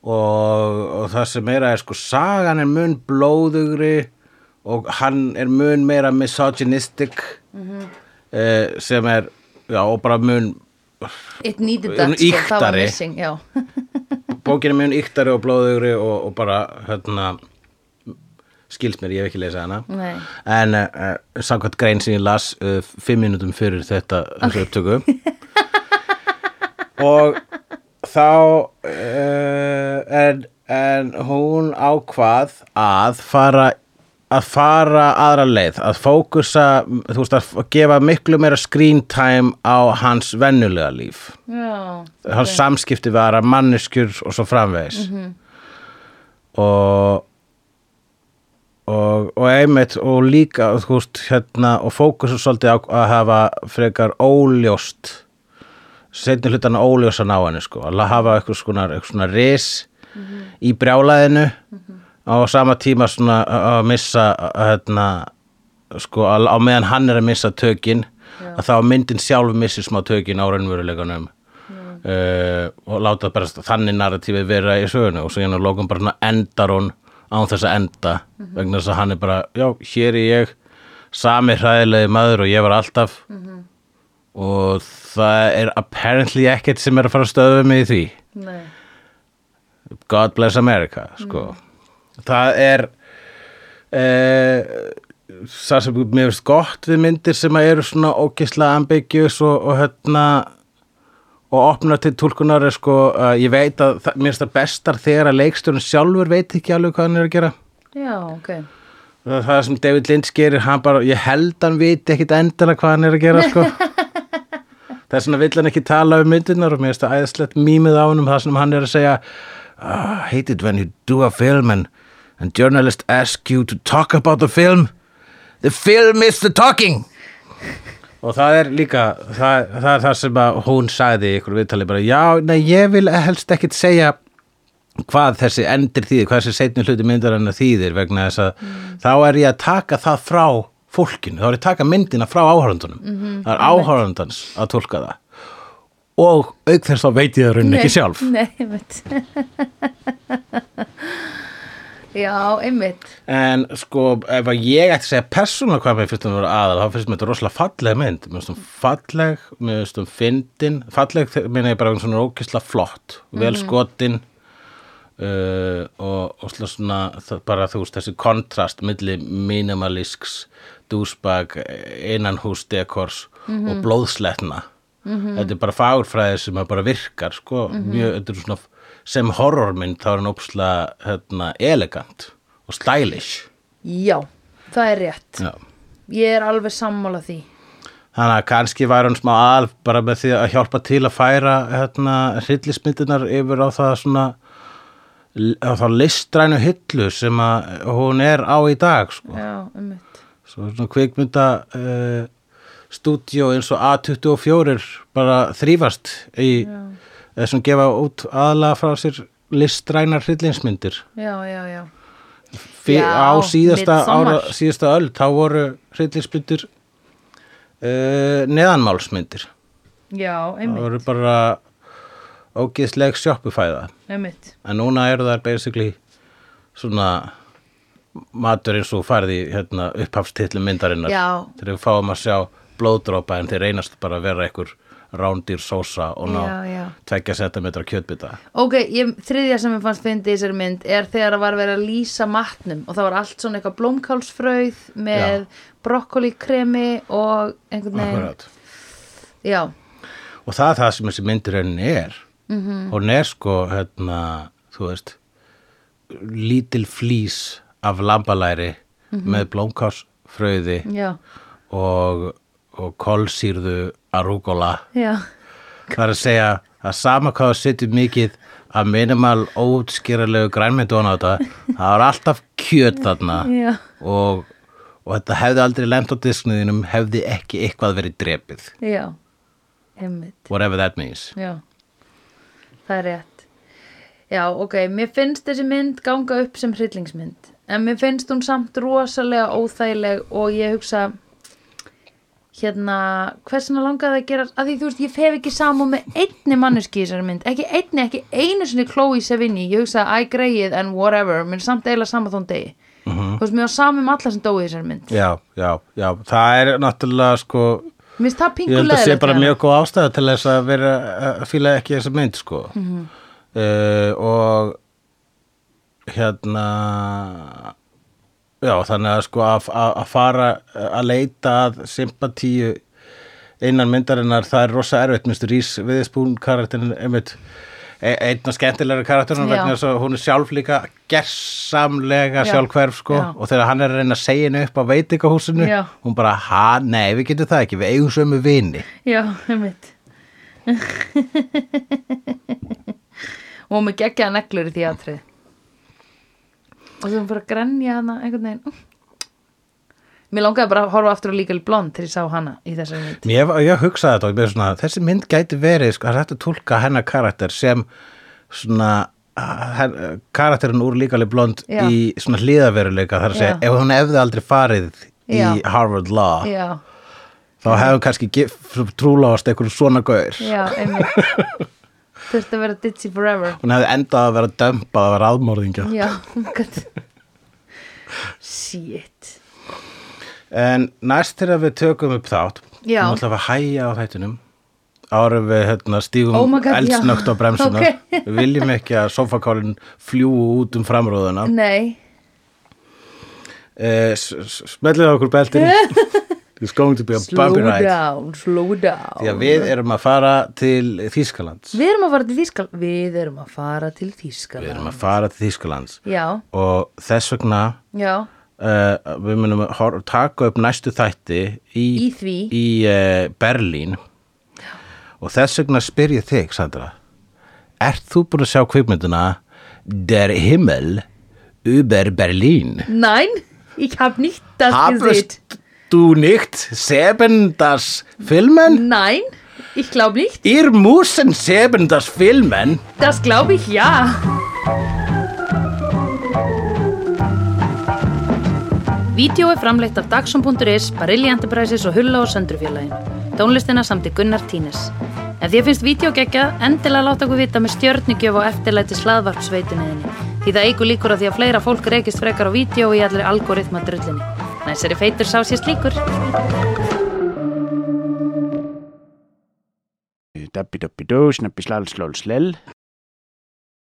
S1: Og, og það sem meira er, sko, sagan er mun blóðugri og hann er mun meira misogynistic
S2: Mhm.
S1: eh, sem er, já, og bara mun
S2: It needed that,
S1: Hún
S2: sko, það var
S1: ýktari.
S2: missing Já,
S1: bókin er mjög yktari og blóðugri og, og bara hérna skilst mér, ég hef ekki lesað hana
S2: Nei.
S1: en uh, samkvæmt grein sem ég las uh, fimm minútum fyrir þetta okay. upptöku og þá uh, en, en hún ákvað að fara að fara aðra leið að fókusa, þú veist að f- gefa miklu meira screen time á hans vennulega líf
S2: já
S1: hans samskipti við aðra manneskjur og svo framvegis og, og og einmitt og líka þú veist, hérna, og fókusur svolítið á að hafa frekar óljóst setni hlutana óljósan á henni sko, að hafa eitthvað svona, eitthvað svona ris í brjálaðinu á sama tíma svona að að missa að, hérna, sko, að, á meðan hann er að missa tökin, að þá myndin sjálf missi smá tökin á raunveruleikanum uh, og láta bara þannig narratífið vera í sögunu og svo hérna lókum bara svona endar hún án þess að enda vegna þess að hann er bara, já, hér er ég sami hræðilegi maður og ég var alltaf og það er apparently ekkert sem er að fara að stöða mig í því
S2: Nei.
S1: God bless America sko. það er e, það sem mér finnst gott við myndir sem að eru svona ógislega ambiguous og, og hérna og opnar til tólkunar er sko uh, ég veit að það, mér finnst það bestar þegar að leikstjórn sjálfur veit ekki alveg hvað hann er að gera
S2: Já, ok
S1: það, það sem David Lynch gerir hann bara, ég held hann viti ekkit endilega hvað hann er að gera sko. það er svona vill hann ekki tala um myndunar og mér finnst það æðislegt mýmið á hann um það sem hann er að segja "Ah, I hate it when you do a film and, and journalists ask you to talk about the film the film is the talking og það er líka það, það er það sem að hún sagði í ykkur viðtali bara, já, nei, ég vil helst ekkit segja hvað þessi endir þýðir, hvað þessi setni hluti myndarinnar þýðir vegna þess að þá er ég að taka það frá fólkinu, þá er ég að taka myndina frá áhörundunum það er áhörundans að tólka það og auk þess þá veit ég það raunin ekki
S2: [laughs]
S1: sjálf
S2: Nei, einmitt Já, einmitt
S1: en sko, ef að ég ætti að segja persónulega hvað mér finnst um að vera aðal þá finnst mér þetta rosalega falleg mynd mér finnst um falleg, mér finnst um fyndin falleg, þe- minna ég bara um svona ókisla flott vel skotin uh, og, og slá svona það, bara þú veist, þessi kontrast milli minimalisks, dúsbag innanhús dekors og blóðsletna þetta er bara fagurfræði sem að bara virkar sko, mjög, þetta er svona sem horrormynd þá er hann ópslega hérna, elegant og stylish
S2: Já, það er rétt
S1: Já.
S2: Ég er alveg sammála því
S1: Þannig að kannski væri hann smá aðal bara með því að hjálpa til að færa hérna, hryllismyndunar yfir á það svona og þá listrænu hillu sem að hún er á í dag sko.
S2: já, ummitt
S1: svo svona kvikmynda uh, stúdíó eins og A24 bara þrýfast í þessum gefa út aðlega frá sér listrænar hryllinsmyndir
S2: já, já, já,
S1: Fyr,
S2: Já,
S1: á síðasta, ára,
S2: Midsommar.
S1: síðasta öll þá voru hryllinsmyndir uh, neðanmálsmyndir
S2: já,
S1: það
S2: einmitt,
S1: voru bara ógeðsleg sjoppufæða
S2: einmitt.
S1: en núna eru þær basically svona matur eins og færði hérna, upphafstillu myndarinnar
S2: Já.
S1: þegar við fáum að sjá blóðdrópa en þeir reynast bara að vera einhver rándýr sósa og ná
S2: Já, já.
S1: tvekja sentimetra kjötbita
S2: Ok, ég, þriðja sem ég fannst fyndi í þessari mynd er þegar það var verið að lýsa matnum og það var allt svona eitthvað blómkálsfrauð með
S1: Já.
S2: brokkolikremi og einhvern veginn
S1: Akkurat.
S2: Já,
S1: og það er það sem þessi myndir henni er mm
S2: Mhm.
S1: -hmm. hún er sko hérna, þú veist lítil flís af lambalæri
S2: Mhm.
S1: með blómkásfröði
S2: já,
S1: og, og kolsýrðu arúgóla
S2: já
S1: Það er að segja að sama hvað þú sittur mikið að minimal óutskýralegu grænmyndu á þetta, það var alltaf kjöt þarna
S2: Já.
S1: og, og þetta hefði aldrei lent á diskniðinum hefði ekki eitthvað verið drepið
S2: Já, einmitt
S1: whatever that means
S2: Já, það er rétt Já, ok, mér finnst þessi mynd ganga upp sem hryllingsmynd en mér finnst hún samt rosalega óþægileg og ég hugsa hérna, hversna langaði að gera að því þú veist, ég hef ekki samúð með einni manneski í þessari mynd, ekki einni, ekki einu sinni Chloe Sevigny, ég hugsa að I greið and whatever, mér er samt eiginlega sama þón degi þú veist, mér var sama um alla sem dói í þessari mynd
S1: Mhm. Já, já, já, það er náttúrulega sko,
S2: mér finnst það
S1: ég held að
S2: pingulega
S1: sé bara mjög góð ástæða til þess að vera að fíla ekki þessa mynd sko uh, og hérna já þannig að sko að, að, að fara að leita að sympatíu innan myndarinnar það er rosa erfitt Mr. Rís viðspún karakterin einmitt e- einn af skemmtilegri karakterinu
S2: Já.
S1: vegna þess að hún er sjálf líka gersamlega
S2: Já.
S1: sjálfhverf sko
S2: Já.
S1: og þegar hann er að reyna að segja henni upp á veitingahúsinu
S2: Já.
S1: hún bara, ha, nei, við getum það ekki við eigum sömu vini
S2: Já, einmitt Og með geggjaða neglur í því atrið Og þú fyrir að grenja hana einhvern veginn Mér langaði bara að horfa aftur á Legal Blonde til ég sá hana í þessari mynd
S1: Ég, ég hugsaði þetta og ég með svona þessi mynd gæti verið, sko, það er hægt að tólka hennar karakter sem svona ah, hen, karakterin úr líkali blond
S2: Já.
S1: í svona hliðaveruleika þar að segja,
S2: Já.
S1: ef hún hefði aldrei farið
S2: Já.
S1: í Harvard Law
S2: Já,
S1: þá hefði hún kannski gef- trúláast einhverjum svona gaur
S2: já, einmitt Þurfti að vera ditzy forever
S1: hún hefði endað að vera dömpað að vera aðmörðingja
S2: Já, hvað Shit
S1: en næst þegar við tökum upp þátt
S2: Já.
S1: nú ætlum við að hæja á þættunum árum við hérna, stígum
S2: Oh my God, já.
S1: eldsnögt á bremsunar
S2: Ok.
S1: [laughs] við viljum ekki að sofakálinn fljúu út um framrúðuna
S2: Nei,
S1: Eh, s- s- smellið á okkur
S2: [laughs]
S1: beltin it's going to be a
S2: slow
S1: bumpy ride
S2: down, slow down
S1: því að við erum að fara til Þýskalands
S2: Við erum að fara til Þýskaland Við erum að fara til Þýskaland
S1: við erum að fara til Þýskalands
S2: Já,
S1: og þess vegna
S2: já,
S1: uh, við munum hor- taka upp næstu þætti í,
S2: í því
S1: í uh, Berlín og þess vegna spyr ég þig Sandra ert þú búin að sjá kvikmyndina Der Himmel über Berlin
S2: Nein, ich hab nicht das gesehen
S1: Habest du nicht seben das Filmen?
S2: Nein, ich glaube nicht
S1: Ihr müssen sehen das Filmen.
S2: Das glaube ich ja Vídeó er framleitt af Dagsum.is, Barilli Enterprises og Hulla og Söndrufjörlægin. Tónlistina samt í Gunnar Tínes. Ef því finnst vídeo geggja, endilega láta okkur vita með stjörnigjöf og eftirlæti slaðvarpsveituninni. Því það eigur líkur að því að fleira fólk reykist frekar á vídeo í allir algoritma drullinni. Næsari feitur sá sér slíkur.
S3: Dabbi dabbi dó, snabbi slall slall slell